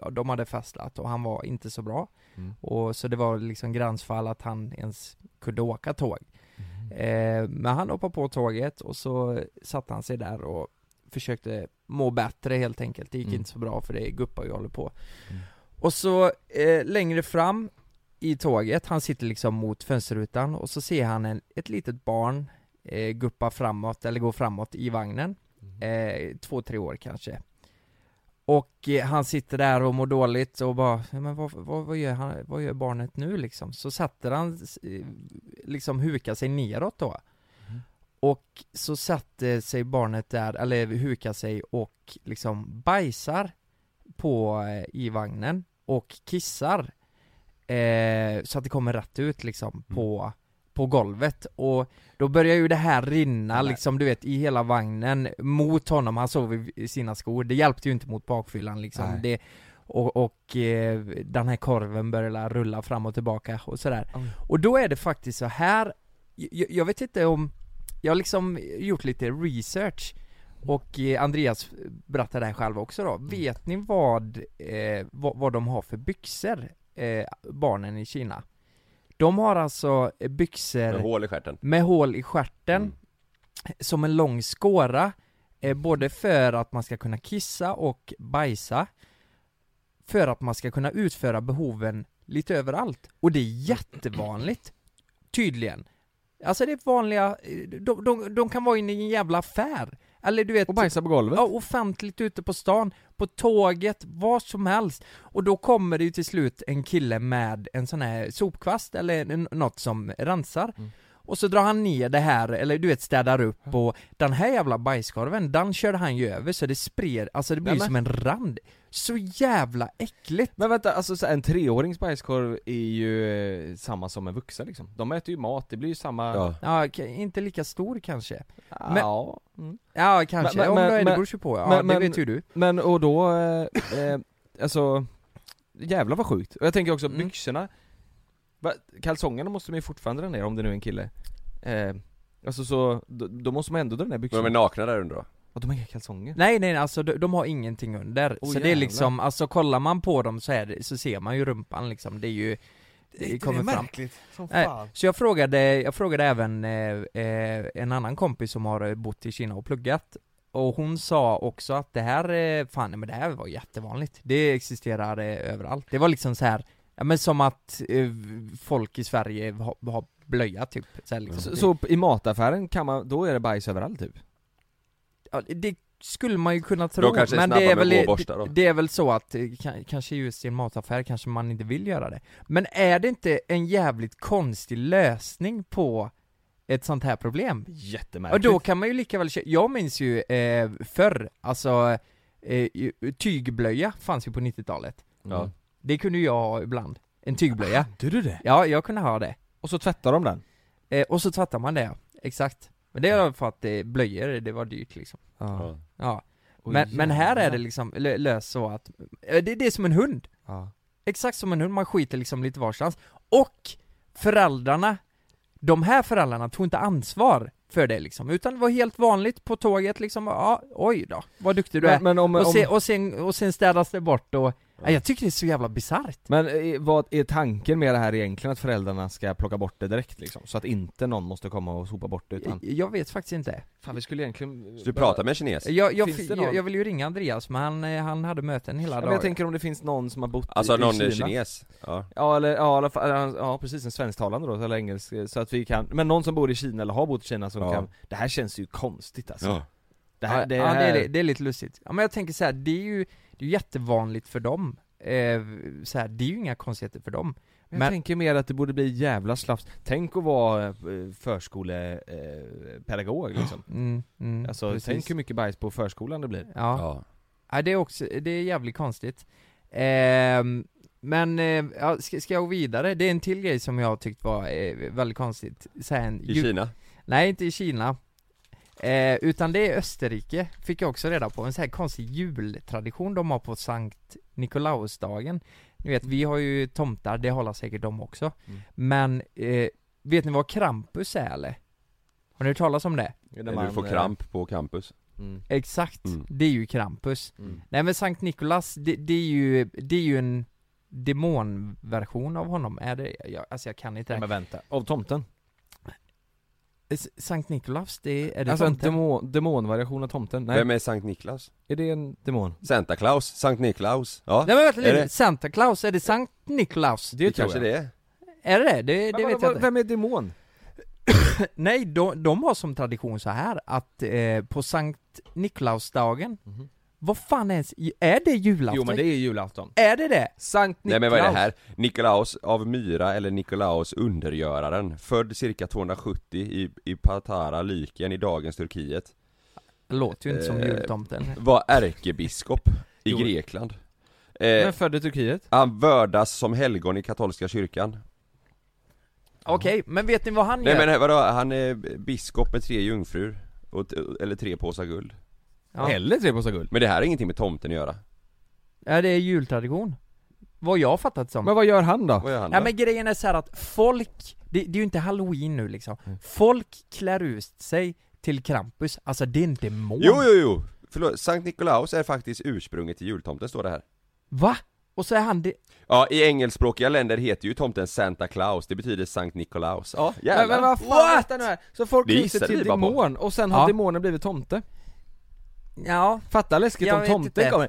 S4: ja, De hade festat och han var inte så bra
S2: Mm.
S4: och Så det var liksom gränsfall att han ens kunde åka tåg
S2: Mm.
S4: eh, Men han hoppade på tåget och så satte han sig där och försökte må bättre helt enkelt Det gick
S2: Mm.
S4: inte så bra för det är guppa jag håller på
S2: Mm.
S4: Och så eh, längre fram i tåget, han sitter liksom mot fönsterrutan och så ser han en, ett litet barn eh, guppa framåt, eller gå framåt i vagnen. Eh, två, tre år kanske. Och eh, han sitter där och mår dåligt och bara, "Ja, men vad, vad, vad, gör, han, vad gör barnet nu liksom? Så satte han, eh, liksom hukade sig neråt då. Och så satte sig barnet där, eller hukade sig och liksom bajsar på, eh, i vagnen och kissar. Eh, så att det kommer rätt ut liksom
S2: Mm.
S4: på, på golvet och då börjar ju det här rinna liksom du vet i hela vagnen mot honom, han sov i- i sina skor, det hjälpte ju inte mot bakfyllan liksom
S2: Nej.
S4: det, och, och eh, den här korven började rulla fram och tillbaka och sådär
S2: Oj.
S4: Och då är det faktiskt så här jag, jag vet inte om Jag har liksom gjort lite research Och eh, Andreas berättar det här själv också då Vet ni vad, eh, vad, vad de har för byxor? Eh, barnen i Kina De har alltså eh, byxor
S1: Med hål i stjärten
S4: med hål i stjärten
S1: Mm.
S4: som en lång skåra eh, både för att man ska kunna kissa och bajsa för att man ska kunna utföra behoven lite överallt och det är jättevanligt tydligen Alltså det är vanliga, eh, de, de, de kan vara inne i en jävla affär eller du vet
S2: Och bajsa på golvet?
S4: Ja, offentligt ute på stan, på tåget, vad som helst. Och då kommer det ju till slut en kille med en sån här sopkvast eller n- något som rensar.
S2: Mm.
S4: Och så drar han ner det här, eller du vet städar upp och den här jävla bajskorven, den körde han ju över så det spred, alltså det blir
S2: Nämen.
S4: som en rand. Så jävla äckligt!
S2: Men vänta, alltså så här, en treårings bajskorv är ju eh, samma som en vuxen liksom. De äter ju mat, det blir ju samma...
S1: Ja,
S4: Ja, k- inte lika stor kanske.
S2: Ah,
S4: Men-
S2: ja. Mm.
S4: Ja, kanske.
S2: Men-
S4: Om
S2: men-
S4: det, är- det
S2: men-
S4: beror ju på. Ja,
S2: men-
S4: det
S2: men-
S4: vet ju du.
S2: Men och då, eh, eh, alltså, jävlar vad sjukt. Och jag tänker också
S4: Mm.
S2: byxorna, va, kalsongerna måste de ju fortfarande dra ner om det nu är en kille. Eh, alltså så, då, då måste man ändå dra ner
S1: men
S2: byxorna.
S1: de är nakna där under då?
S2: Och de har inga kalsonger.
S4: Nej nej alltså de, de har ingenting under,
S2: Åh,
S4: så det är
S2: jävlar.
S4: liksom, alltså kollar man på dem så, är det, så ser man ju rumpan liksom, det är ju det kommer fram.
S5: märkligt som
S4: Nej.
S5: fan.
S4: Så jag frågade, jag frågade även eh, eh, en annan kompis som har eh, bott i Kina och pluggat Och hon sa också att det här, eh, fan nej, men det här var jättevanligt Det existerar eh, överallt, det var liksom så här Ja men som att eh, folk i Sverige har, har blöja typ, så, här, liksom.
S2: Så, så i mataffären kan man, då är det bajs överallt typ?
S4: Ja, det skulle man ju kunna tro,
S1: kanske är
S4: men
S1: snabba
S4: det
S1: med
S4: är, väl,
S1: att gå och borsta då.
S4: det, det är väl så att eh, ka- kanske just i en mataffär kanske man inte vill göra det. Men är det inte en jävligt konstig lösning på ett sånt här problem? Och
S2: Jättemärkligt.
S4: då kan man ju lika väl kö- jag minns ju eh, förr, alltså eh, ju- tygblöja fanns ju på 90-talet.
S1: Ja.
S4: Det kunde ju jag ha ibland, en tygblöja.
S2: Du du det?
S4: Ja, jag kunde ha det.
S2: Och så tvättar de den?
S4: Eh, och så tvättar man det, ja. exakt. Men det var för att eh, blöjor, det var dyrt liksom.
S1: Ja.
S4: Ja.
S2: Oj,
S4: Men, men här är det
S2: jävlar.
S4: liksom lö- löst så att, eh, det, det är som en hund,
S2: Ja.
S4: exakt som en hund, man skiter liksom lite varstans. Och föräldrarna, de här föräldrarna tog inte ansvar för det liksom, utan det var helt vanligt på tåget liksom, ja, oj då, vad duktig du är.
S2: Men, men om,
S4: och,
S2: om
S4: se, och, sen, och sen städas det bort och, nej, jag tycker det är så jävla bisarrt.
S2: Men eh, vad är tanken med det här egentligen? Att föräldrarna ska plocka bort det direkt liksom? Så att inte någon måste komma och sopa bort det utan...
S4: Jag, jag vet faktiskt inte.
S2: Fan vi skulle egentligen...
S1: Så du pratar med en kines?
S4: Jag, jag,
S2: Finns det någon-
S4: jag, jag vill ju ringa Andreas men han, eh, han hade möten hela
S2: Ja, men
S4: dagen.
S2: jag tänker om det finns någon som har bott
S1: Alltså
S2: i,
S1: någon
S2: i Kina.
S1: kines? Ja,
S2: Ja eller, ja, i alla fall, ja precis, en svensktalande då, eller engelsk, eh, så att vi kan, men någon som bor i Kina eller har bott i Kina som
S1: Ja.
S2: kan, det här känns ju konstigt alltså
S1: ja.
S2: Det här,
S4: ja,
S2: det,
S4: ja,
S2: här
S4: det, är, det är lite lustigt. Ja, men jag tänker så här, det är ju det är ju jättevanligt för dem. Eh, så här, det är ju inga konstigheter för dem.
S2: Jag
S4: men-
S2: tänker mer att det borde bli jävla slafs, tänk att vara eh, förskolepedagog liksom
S4: Mm, mm,
S2: Alltså
S4: precis.
S2: tänk hur mycket bajs på förskolan det blir
S4: Ja. Ja.
S1: ja.
S4: det är också, det är jävligt konstigt. Ehm, men, eh, ja, ska, ska jag gå vidare? Det är en till grej som jag tyckt var eh, väldigt konstigt. Så här, en,
S1: I
S4: ju-
S1: Kina?
S4: Nej, inte i Kina. Eh, utan det är Österrike, fick jag också reda på. En sån här konstig jultradition de har på Sankt Nikolausdagen. Ni vet, vi har ju tomtar, det håller säkert de också.
S2: Mm.
S4: Men, eh, vet ni vad Krampus är eller? Har ni hört talas om det?
S2: När
S1: Du får
S2: eh,
S1: kramp på campus?
S2: mm,
S4: Exakt,
S1: Mm.
S4: det är ju Krampus.
S2: mm.
S4: Nej men Sankt Nikolas, det, det är ju, det är ju en demonversion av honom. Är det, jag, alltså jag kan inte det.
S2: Nej, men vänta, av tomten?
S4: S- Sankt Nikolaus, det är det
S2: Alltså en
S4: tomten?
S2: demon, demonvariation av tomten, nej,
S1: Vem är Sankt Niklas?
S2: är det en demon?
S1: Santa Claus? Sankt Niklaus? Ja,
S4: Nej men vänta
S1: Är
S4: lite,
S1: det-
S4: Santa Claus, är det Sankt Nikolaus?
S1: det kanske det är
S4: Är det det? Det, det vet jag inte
S2: Vem är demon?
S4: Nej, de, de har som tradition så här att eh, på Sankt Niklausdagen
S1: Mhm.
S4: Vad fan är ens, är det julafton?
S2: Jo men det är julafton
S4: Är det det?
S2: Sankt
S1: Nej
S2: Nikolaus
S1: men vad är det här? Nikolaus av Myra eller Nikolaus undergöraren Född cirka 270 i, i Patara, Lykien i dagens Turkiet
S4: Det låter ju inte som
S1: Eh,
S4: jultomten
S1: Var ärkebiskop i
S2: Jo.
S1: Grekland
S2: Men
S1: eh,
S2: född i Turkiet?
S1: Han vördas som helgon i katolska kyrkan
S4: Okej, men vet ni vad han
S1: Nej
S4: gör?
S1: men vadå, han är biskop med tre jungfrur och t- eller tre påsar guld
S4: Ja.
S2: Eller tre påsar guld
S1: Men det här har ingenting med tomten att göra
S4: Ja, det är jultradition Vad jag har fattat som
S2: Men vad gör han då?
S1: Vad gör han
S4: Nej
S1: då?
S4: men grejen är så här att folk, det, det är ju inte halloween nu liksom
S1: Mm.
S4: Folk klär ut sig till Krampus, alltså det är en demon
S1: Jo, jo, jo! Förlåt, Sankt Nikolaus är faktiskt ursprunget till jultomten står det här
S4: Va? Och så är han det,
S1: Ja, i engelskspråkiga länder heter ju tomten Santa Claus, det betyder Sankt Nikolaus Ja,
S2: Men, men
S1: jävlar!
S2: vad fan, vänta nu här. Så folk
S1: Det
S2: klär sig
S1: gissade
S2: till
S1: vi bara på.
S2: demon och sen
S4: Ja.
S2: har demonen blivit tomte?
S4: ja
S2: Fatta läskigt
S4: Jag
S2: om
S4: vet
S2: tomten
S4: inte.
S2: kommer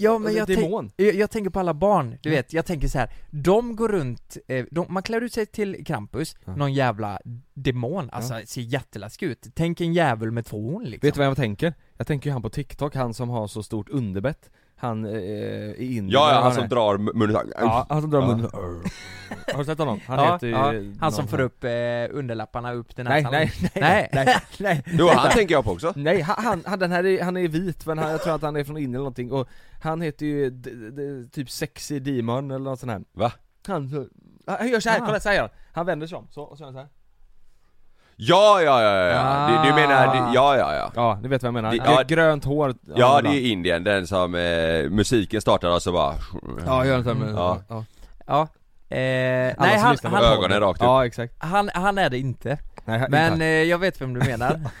S4: Ja men
S2: Eller
S4: jag, tänk,
S2: demon. Mm.
S4: jag, jag tänker på alla barn, du vet, jag tänker så här. de går runt, eh, de, man klär ut sig till Krampus, någon jävla demon, alltså det ser jätteläskigt ut, tänk en djävul med två horn liksom
S2: Vet du vad jag tänker? Jag tänker ju han på TikTok, han som har så stort underbett Han eh, i Indien
S1: Ja, ja,
S2: eller vad
S1: han som
S2: är.
S1: drar mu- munnen
S2: Ja, han som drar
S1: Ja.
S2: munnen Har du sett honom? Han
S4: ja,
S2: heter ju
S4: ja, han som
S2: någon-
S4: får upp eh, underlapparna upp till
S2: Nej,
S4: näsan
S2: nej,
S4: nej, nej.
S2: nej
S1: Jo, han tänker jag på också
S2: Nej, han, han, han, den här är, han är vit men han, jag tror att han är från Indien eller någonting och han heter ju d, d, typ sexy demon eller något sånt här
S1: Va?
S2: Han, så- han gör såhär,
S4: Ah.
S2: kolla säger han! Han vänder sig om, så, och så gör han såhär
S1: Ja, ja, ja, ja, ja. Du, du menar, du, ja, ja, ja
S2: Ja, ni vet vad jag menar,
S1: Det-
S2: ja.
S1: ja.
S2: grönt hår
S1: Ja, det är Indien, den som eh, musiken startar och så bara
S2: Ja, gör inte
S1: Mm. Ja.
S2: ja.
S4: ja, eh,
S2: Alla
S4: nej
S2: som
S4: han,
S2: lyssnar på
S4: han,
S1: ögonen rakt upp.
S2: Ja, exakt
S4: han, han är det inte
S2: Nej, han-
S4: Men
S2: inte
S4: eh, jag vet vem du menar.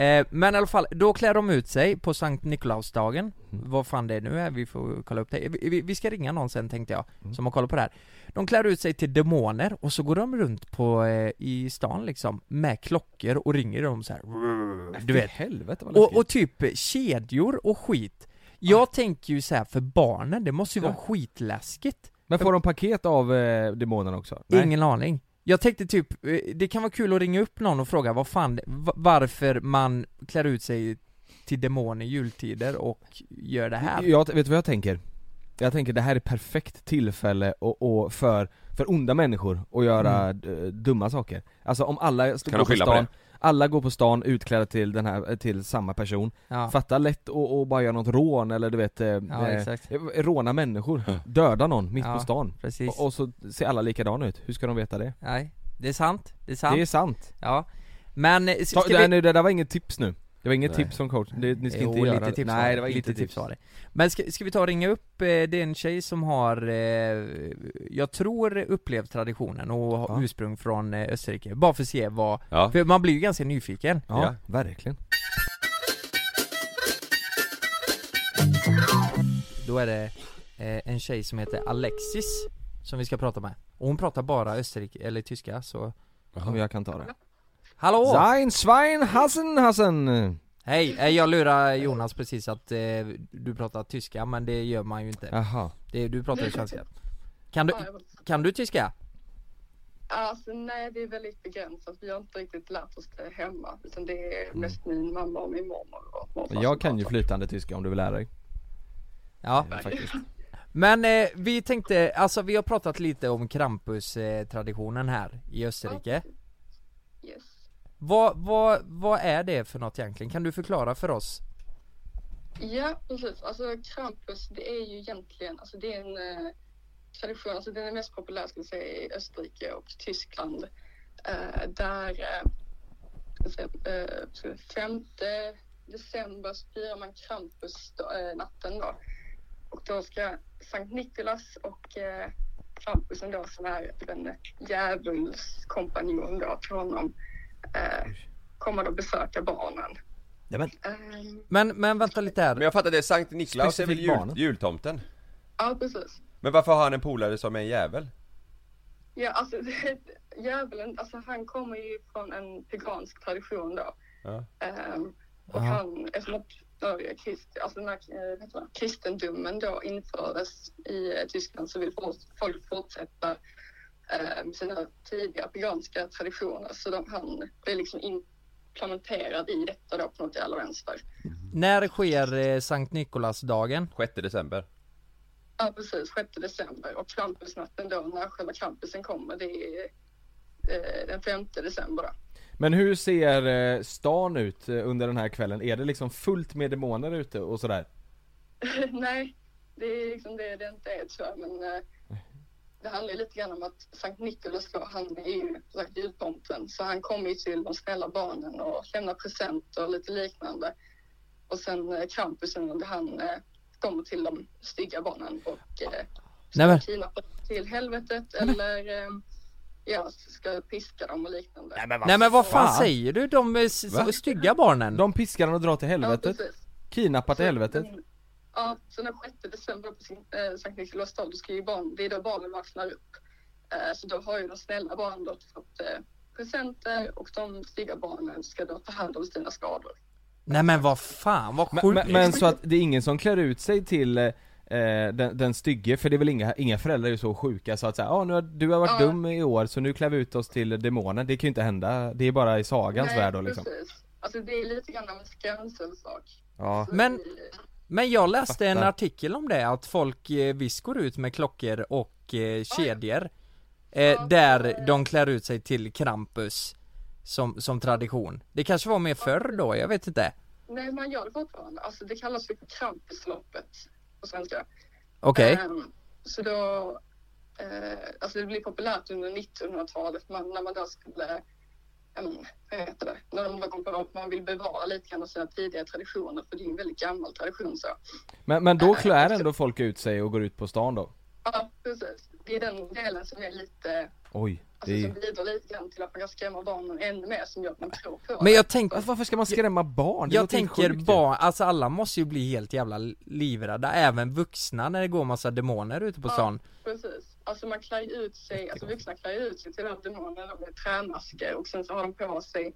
S4: eh, men i alla fall, då klär de ut sig på Sankt Nikolausdagen. Vad fan det nu är, vi får kolla upp det. Vi, vi, vi ska ringa någon sen tänkte jag, som har kollat på det här. De klär ut sig till demoner och så går de runt på, eh, i stan liksom, med klockor och ringer dem så här.
S2: han,
S4: du vet.
S2: Fy helvete vad läskigt
S4: Och, och typ kedjor och skit. Jag tänker ju så här för barnen, det måste ju
S2: Ja.
S4: vara skitläskigt.
S2: Men får de paket av eh, demonerna också? Nej.
S4: Ingen aning. Jag tänkte typ, eh, det kan vara kul att ringa upp någon och fråga vad fan, va- varför man klär ut sig till demon i jultider och gör det här.
S2: Jag, vet du vad jag tänker? Jag tänker det här är perfekt tillfälle och, och för, för onda människor att göra
S4: Mm.
S2: eh, dumma saker Alltså om alla st-
S1: Kan
S2: går
S1: de
S2: på
S1: skylla på
S2: stan, alla går på stan utklädda till den här, till samma person
S4: Ja,
S2: Fatta lätt och, och bara göra något rån eller du vet, eh,
S4: ja
S2: eh,
S4: exakt.
S2: råna människor, döda någon mitt
S4: Ja.
S2: på stan
S4: Precis.
S2: och, och så ser alla likadana ut, hur ska de veta det?
S4: Nej, det är sant. Det är sant.
S2: Det är sant!
S4: Ja. Men, eh, s-
S2: Ta,
S4: ska
S2: det,
S4: vi...
S2: nu, det där var inget tips nu, det var inget
S1: Nej.
S2: tips från coach, det, ni ska
S4: Jo,
S2: inte göra
S4: lite
S2: det.
S4: tips
S2: Nej det var
S4: lite
S2: inte
S4: tips. var det. Men ska, ska vi ta och ringa upp, eh, det är en tjej som har, eh, jag tror upplevt traditionen och har
S2: Ja.
S4: ursprung från eh, Österrike, bara för att se vad,
S1: Ja.
S4: för man blir ju ganska nyfiken.
S2: Ja,
S1: Ja.
S2: verkligen
S4: Då är det eh, en tjej som heter Alexis som vi ska prata med. Och hon pratar bara österrik eller tyska så...
S2: Om jag kan ta det
S4: Hallå!
S2: Sein Schwein Hassen Hassen!
S4: Hej! eh, Jag lurar Jonas precis att eh, du pratar tyska men det gör man ju inte.
S2: Jaha.
S4: Det, du pratar ju svenska. Kan du, kan du tyska?
S6: Alltså nej, det är väldigt begränsat. Vi har inte riktigt lärt oss det hemma. Utan det är mest min mamma och min mormor och morfar som
S2: Mm. Jag kan ju
S6: pratar.
S2: flytande tyska om du vill lära dig.
S4: Ja.
S2: Faktiskt.
S4: Men eh, vi tänkte, alltså vi har pratat lite om Krampus-traditionen här i Österrike.
S6: Yes.
S4: Vad, vad, vad är det för något egentligen? Kan du förklara för oss?
S6: Ja, precis. Alltså Krampus, det är ju egentligen, alltså det är en eh, tradition, alltså den är mest populär ska jag säga i Österrike och Tyskland. Eh, där eh, ska jag säga, eh, ska jag säga, 5 december så firar man Krampus då, eh, natten då. Och då ska Sankt Nikolaus och eh, Krampusen då som är den djävulskompanjon då till honom eh, kommer då besöka barnen.
S2: Nämen.
S6: Eh,
S4: Men, men vänta lite här.
S1: Men jag fattar det, Sankt Niklaus är väl
S2: Specifikt
S1: jul,
S2: barnen.
S1: jultomten?
S6: ja, precis.
S1: Men varför har han en polare som är en jävel?
S6: Ja, alltså djävulen, alltså han kommer ju från en pagansk tradition då.
S1: Ja.
S6: Ehm, och
S4: Aha.
S6: han, eftersom att Norge, krist, alltså den här, eh, vad heter det, kristendomen då infördes i eh, Tyskland så vill fort- folk fortsätta eh, med sina tidiga paganska traditioner. Så de, han blir liksom implementerad i detta då på något jävla vänster.
S4: När sker eh, Sankt Nikolasdagen?
S1: 6 december
S6: Ja, precis. 6 december. Och Krampusnatten då, när själva Krampusen kommer, det är eh, den 5 december. Då.
S2: Men hur ser eh, stan ut eh, under den här kvällen? Är det liksom fullt med demoner ute och sådär?
S6: Nej, det är liksom det det inte är tror jag. Men eh, det handlar ju lite grann om att Sankt Nikolaus då, han är ju som sagt jultomten. Så han kommer ju till de snälla barnen och lämnar presenter och lite liknande. Och sen eh, Krampusen, han eh, kommer till de stygga barnen och eh,
S4: Nej, men-
S6: ska kidnappa dem till helvetet eller eh, ja, ska piska dem och liknande.
S4: Nej men vad fan
S2: fan?
S4: säger du? De är s-
S1: Va?
S4: stygga barnen?
S2: De piskar den och drar till
S6: Ja,
S2: helvetet,
S6: precis.
S2: kidnappar till
S6: Så
S2: helvetet
S6: den- Ja, så den 6 december på sin, eh, Sankt Nikolaus dag, då ska ju barn, det är då barnen vaknar upp. Eh, så då har ju de snälla barnen då fått eh, presenter och de stygga barnen ska då ta hand om sina skador.
S4: Nej men vad fan, vad
S2: men,
S4: sjukt!
S2: men, men så att det är ingen som klär ut sig till eh, eh, den, den stygge, för det är väl inga, inga föräldrar är ju så sjuka så att säga, ah, nu har, du har varit
S6: Ja.
S2: dum i år så nu klär vi ut oss till demonen, det kan ju inte hända, det är bara i sagans
S6: Nej,
S2: värld då liksom
S6: precis. Alltså det är lite grann av en skrämselsak.
S2: Ja,
S6: Så
S4: Men-
S6: det-
S4: Men jag läste en
S2: Fattar.
S4: artikel om det, att folk eh, visst går ut med klockor och eh, kedjor eh,
S6: Ja,
S4: Där
S6: det-
S4: de klär ut sig till Krampus som, som tradition Det kanske var mer förr då, jag vet inte
S6: Nej, man gör det fortfarande. Alltså det kallas för Krampusloppet på svenska.
S4: Okej,
S2: Eh,
S6: Ehm, så då, eh, alltså det blev populärt under 1900-talet man, när man då skulle, ja, men, vad heter det, när de kom på att man vill bevara lite grann av sina tidiga traditioner för det är en väldigt gammal tradition så.
S2: men, men då klär ändå folk ut sig och går ut på stan då?
S6: Ja, precis. Det är den delen som är lite,
S2: Oj,
S6: alltså
S2: det är...
S6: som bidrar lite grann till att man kan skrämma barnen ännu mer som gör att man tror på det.
S4: men jag tänk,
S2: Alltså, varför ska man skrämma barn? Det
S4: jag
S2: låter helt
S4: tänker
S2: sjukt ju.
S4: bara, alltså alla måste ju bli helt jävla livrädda, även vuxna när det går massa demoner ute på
S6: Ja.
S4: stan
S6: Precis. Alltså man klär ju ut sig, alltså vuxna klär ju ut sig till den här demonen då med trämasker och sen så har de på sig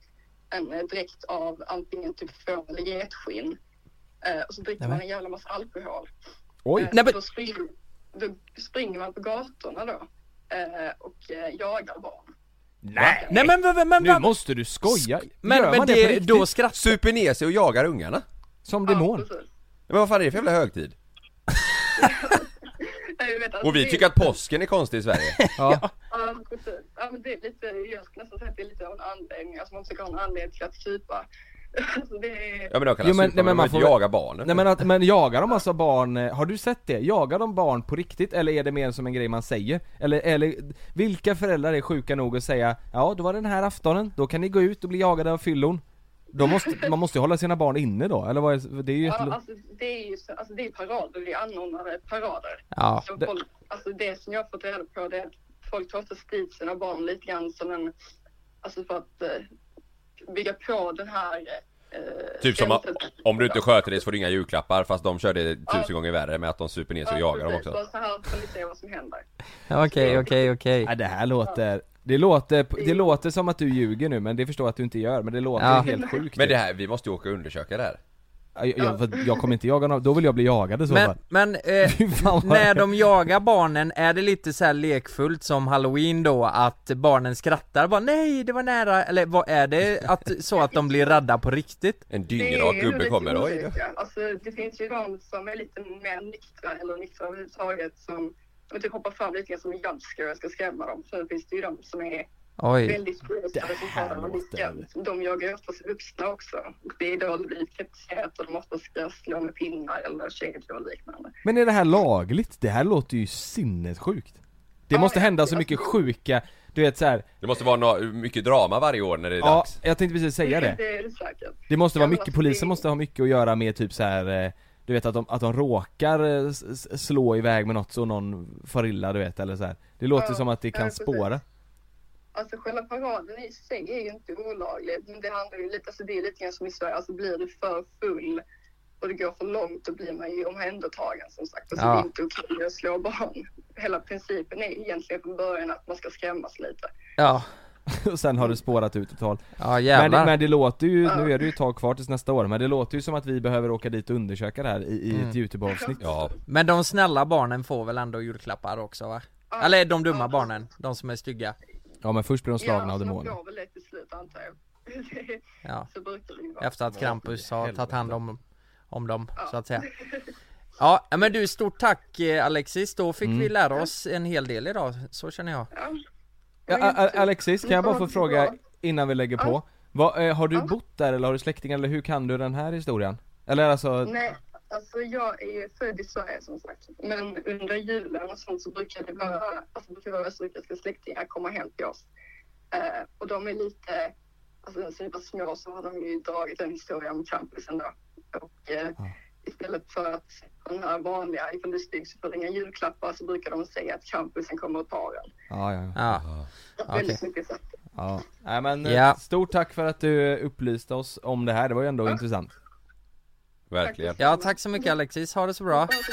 S6: en eh, dräkt av antingen typ får eller getskinn. Eh, och så dricker
S4: Nämen.
S6: man en jävla massa alkohol.
S2: Oj!
S6: Eh,
S4: Nej, men-
S6: då, springer, då springer man på gatorna då eh, och eh, jagar barn.
S2: Nej!
S4: Nej men, men, men,
S2: Nu
S4: men
S2: måste du skoja!
S4: men,
S2: Gör
S4: men
S2: man på
S4: det,
S2: riktigt?
S4: då skrattar
S1: Super ner sig och jagar ungarna?
S2: Som demon?
S6: Ja, precis.
S1: Men vad fan är det för jävla högtid?
S6: Nej, jag vet, alltså,
S1: Och vi
S6: det-
S1: tycker att påsken är konstig i Sverige
S2: Ja.
S6: Ja, precis. Ja, men det är lite, jag skulle nästan säga att det är lite av en anledning, alltså man försöker ha en anledning till att krypa. Alltså det är...
S1: Ja men de kan
S2: Jo,
S1: men,
S2: men- nej,
S1: supa, men
S2: men man
S1: man får
S2: får
S1: inte
S2: väl-
S1: jaga barnen
S2: Nej men, att, men jagar de alltså barn, eh, har du sett det? Jagar de barn på riktigt eller är det mer som en grej man säger? Eller, eller vilka föräldrar är sjuka nog att säga Ja, då var det den här aftonen, då kan ni gå ut och bli jagade av fyllon då måste, Man måste ju hålla sina barn inne då, eller vad är, det är ju ett,
S6: Ja, alltså det är ju så, alltså det är parader, det är anordnade parader.
S4: Ja,
S6: så
S2: det-
S6: folk, alltså det som jag har fått reda på det är att folk tar sig dit sina barn lite grann som en, alltså för att eh, bygga på den här eh,
S1: Typ som att,
S6: känslan.
S1: om du inte sköter dig så får du inga julklappar fast de körde det tusen
S6: Ja.
S1: gånger värre med att de super ner sig och
S6: Ja,
S1: jagar dem
S6: precis.
S1: också
S6: Bara Så här får ni se vad som händer.
S4: okej, okej, okej
S2: Nej det här låter, det låter, det låter som att du ljuger nu men det förstår jag att du inte gör men det låter
S4: Ja.
S2: helt sjukt
S1: Men det här, vi måste ju åka och undersöka det här
S2: jag, jag, jag kommer inte jaga någon, då vill jag bli jagad i så
S4: Men,
S2: fall
S4: men eh,
S2: Fy fan vad-
S4: när de jagar barnen, är det lite så här lekfullt som halloween då? Att barnen skrattar bara 'Nej, det var nära' eller vad är det att, så att de blir rädda på riktigt?
S1: En
S6: Det är
S1: dyngrak
S6: ju
S1: gubbe
S6: lite
S1: kommer, oj då.
S6: olika. Alltså det finns ju de som är lite mer nyktra eller nyktra överhuvudtaget som och typ hoppar fram lite grann som en jumpscare och ska skrämma dem. Sen finns det ju de som är
S4: Oj,
S6: väldigt berusade som
S2: här
S6: talar om
S2: låter-
S6: lyckan. De jagar ju oftast vuxna också. Och det är då det blir kritiserat och de ofta ska slå med pinnar eller kedjor och liknande.
S2: Men är det här lagligt? Det här låter ju sinnessjukt Det
S6: Ja,
S2: måste
S6: jag-
S2: hända så mycket sjuka, du vet så här.
S1: Det måste vara nå- mycket drama varje år när det är
S2: Ja,
S1: dags
S2: jag tänkte precis säga det
S6: Det är det säkert.
S2: Det måste vara
S6: Ja, men
S2: mycket,
S6: alltså,
S2: polisen
S6: det-
S2: måste ha mycket att göra med typ så här. eh, Du vet att de, att de råkar eh, s- s- slå iväg med något så någon far illa du vet eller så här. Det låter
S6: Ja,
S2: som att det
S6: ja,
S2: kan
S6: precis.
S2: spåra
S6: Alltså själva paraden i sig är ju inte olaglig. Men det handlar ju lite, alltså det är lite grann som i Sverige, alltså blir du för full och det går för långt då blir man ju omhändertagen som sagt. Alltså,
S4: Ja.
S6: Det är inte okej att slå barn. Hela principen är egentligen från början att man ska skrämmas lite.
S4: Ja,
S2: och sen har det spårat ut totalt.
S4: ja
S2: Men,
S4: jävlar
S2: det- men det låter ju, nu är det ju ett tag kvar tills nästa år, men det låter ju som att vi behöver åka dit och undersöka det här i, i
S4: Mm.
S2: ett YouTube-avsnitt.
S1: Ja,
S4: Men de snälla barnen får väl ändå julklappar också va?
S6: Ja.
S4: Eller de dumma
S6: Ja.
S4: barnen, de som är stygga
S2: Ja men först blir de slagna av
S6: alltså,
S2: demoner.
S6: Man går väl lite till slut antar jag.
S4: ja.
S6: Så brukar det ju vara.
S4: Efter att Krampus har
S2: helvete.
S4: tagit hand om, om dem
S6: Ja.
S4: så att säga Ja men du stort tack eh, Alexis, då fick
S2: Mm.
S4: vi lära oss en hel del idag, så känner jag
S6: Ja.
S2: Ja, A- A- Alexis, kan jag bara få
S6: Ja,
S2: fråga
S6: bra.
S2: innan vi lägger på? Vad, eh, har du bott där eller har du släktingar eller hur kan du den här historien? Eller alltså,
S6: Nej, alltså jag är ju född i Sverige som sagt. Men under julen och sånt så brukar det vara, alltså brukar våra österrikiska släktingar komma hem till oss. Eh, och de är lite, alltså sen de var små så har de ju dragit en historia om Krampusen då. Och eh, istället för att den här vanliga ifall du stygg så får du inga julklappar så brukar de säga att Krampusen kommer och tar den.
S2: ja ja.
S4: Ja, Okej.
S6: Väldigt mycket så.
S2: ja. Nej men eh,
S4: Ja.
S2: stort tack för att du eh, upplyste oss om det här, det var ju ändå intressant.
S1: verkligen
S4: ja tack så mycket Alexis, ha det så bra
S6: Ja, så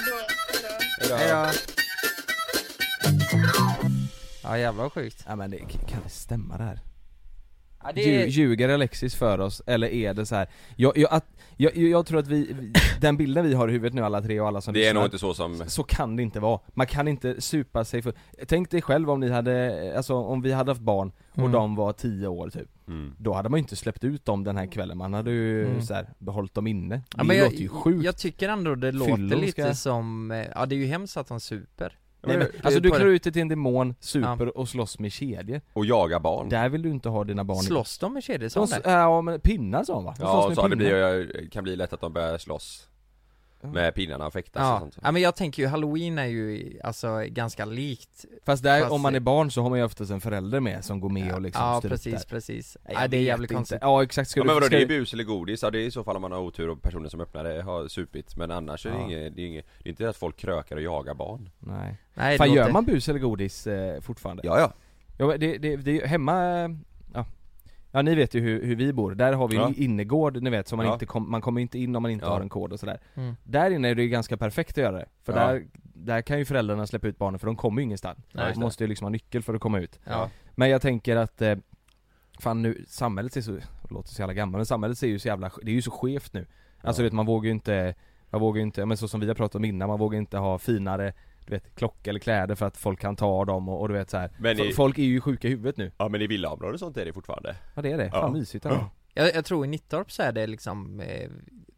S6: bra. Hejdå.
S4: Hejdå Ja jävlar vad sjukt
S2: Ja men det kan det stämma det här?
S4: ja,
S2: Lju- Ljuger Alexis för oss, eller är det så här? Jag, jag, att, jag, jag tror att vi, vi- den bilden vi har i huvudet nu alla tre och alla som
S1: Det är
S2: lyssnar,
S1: nog inte så som
S2: Så kan det inte vara, man kan inte supa sig för Tänk dig själv om ni hade, alltså om vi hade haft barn och
S4: Mm.
S2: de var 10 år typ
S1: mm.
S2: Då hade man ju inte släppt ut dem den här kvällen, man hade ju
S4: Mm.
S2: så här, behållit dem inne Det
S4: Ja, men
S2: låter
S4: jag,
S2: ju sjukt
S4: jag tycker ändå det låter
S2: Fyllon
S4: lite
S2: ska-
S4: som, eh, ja det är ju hemskt att de super
S2: Nej, men,
S1: men-
S2: Alltså du
S4: på
S2: klär
S4: det- Mm.
S2: ut dig till en demon, super och slåss med kedjor
S1: Och jaga barn
S2: Där vill du inte ha dina barn i.
S4: Slåss de med kedjor?
S2: De,
S4: sa
S2: s-
S4: de det?
S2: Ja men pinnar sa hon va? De slåss
S1: Ja,
S2: med
S1: så det
S2: pinnar.
S1: blir, kan bli lätt att de börjar slåss Med pinnarna och fäktas och
S4: Ja.
S1: Alltså, sånt
S4: ja, men jag tänker ju halloween är ju alltså ganska likt
S2: Fast där,
S4: Fast-
S2: om man är barn så har man ju oftast en förälder med som går med och liksom
S4: Ja
S2: styr upp
S4: precis,
S2: där.
S4: precis
S2: Nej,
S4: ja,
S2: jag
S4: Det är
S2: vet
S4: jävligt
S2: inte.
S4: konstigt
S2: Ja exakt, ska
S1: Ja,
S2: du,
S1: men vadå,
S2: ska
S1: det är
S2: du,
S1: bus eller godis, ja, det är i så fall om man har otur och personen som öppnar det har supit Men annars är det
S2: Ja.
S1: inget, det är inget, det är inte att folk krökar och jagar barn
S2: Nej.
S4: Nej,
S2: Fan
S4: det
S2: gör
S4: låter-
S2: man bus eller godis eh, fortfarande? Ja,
S1: Ja ja,
S2: men det, det, det är hemma, eh, ja Ja ni vet ju hur, hur vi bor, där har vi
S1: Ja.
S2: en innergård ni vet, som man
S1: Ja.
S2: inte kom, man kommer inte in om man inte
S1: Ja.
S2: har en kod och sådär
S4: Mm.
S2: Där inne är det ju ganska perfekt att göra det, för
S1: Ja.
S2: där, där kan ju föräldrarna släppa ut barnen för de kommer ju ingenstans
S4: Nej, just
S2: De
S4: det.
S2: måste ju liksom ha nyckel för att komma ut
S4: Ja,
S2: Men jag tänker att, eh, fan nu, samhället ser så, det låter så jävla gammalt men samhället ser ju så jävla, det är ju så skevt nu Alltså
S1: Ja.
S2: du vet man vågar ju inte, man vågar ju inte, ja, men så som vi har pratat om innan, man vågar inte ha finare du vet, klocka eller kläder för att folk kan ta dem och, och du vet så här.
S1: Men
S2: Fo-
S1: i-
S2: Folk är ju sjuka i huvudet nu,
S1: ja men i villaområden och sånt är det fortfarande
S2: ja det är det, fan
S1: Ja.
S2: mysigt ändå.
S4: jag, jag tror i Nittorp så är det liksom eh,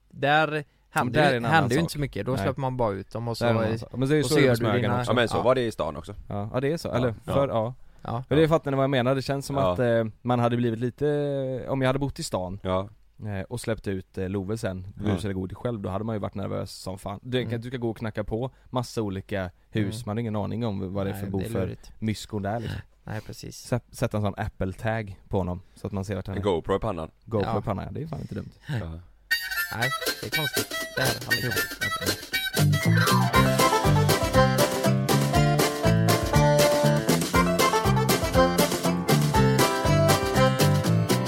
S4: Där händer,
S2: där är
S4: ju-
S2: en annan
S4: händer ju
S2: sak.
S4: inte så mycket, då
S2: Nej.
S4: släpper man bara ut dem och så
S2: Där har man så. Men så är det ju
S4: och
S2: så,
S4: så
S2: det är
S4: gör
S2: med
S4: du
S2: Smögen
S4: dina-
S2: också
S1: Ja men så
S4: Ja.
S1: var det i stan också
S2: ja. ja det är så, eller
S1: Ja.
S2: för, ja
S4: Ja,
S2: Men det fattar ni vad jag menar, det känns som
S1: Ja.
S2: att eh, man hade blivit lite, om jag hade bott i stan
S1: Ja,
S2: Eh, och släppte ut eh, Love sen,
S1: Ja.
S2: bus eller godis själv, då hade man ju varit nervös som fan. Du,
S4: Mm.
S2: du ska gå och knacka på massa olika hus,
S4: Mm.
S2: man har ingen aning om vad det är
S4: nej,
S2: för bo för
S4: lurigt.
S2: myskon där liksom.
S4: Nej precis
S2: Sätt- Sätta en sån apple-tag på honom, så att man ser vart han
S1: en
S2: är.
S1: GoPro i pannan
S2: GoPro
S4: Ja.
S2: på pannan, det är fan inte dumt.
S1: ja.
S4: Nej, det är konstigt Det här är aldrig konstigt.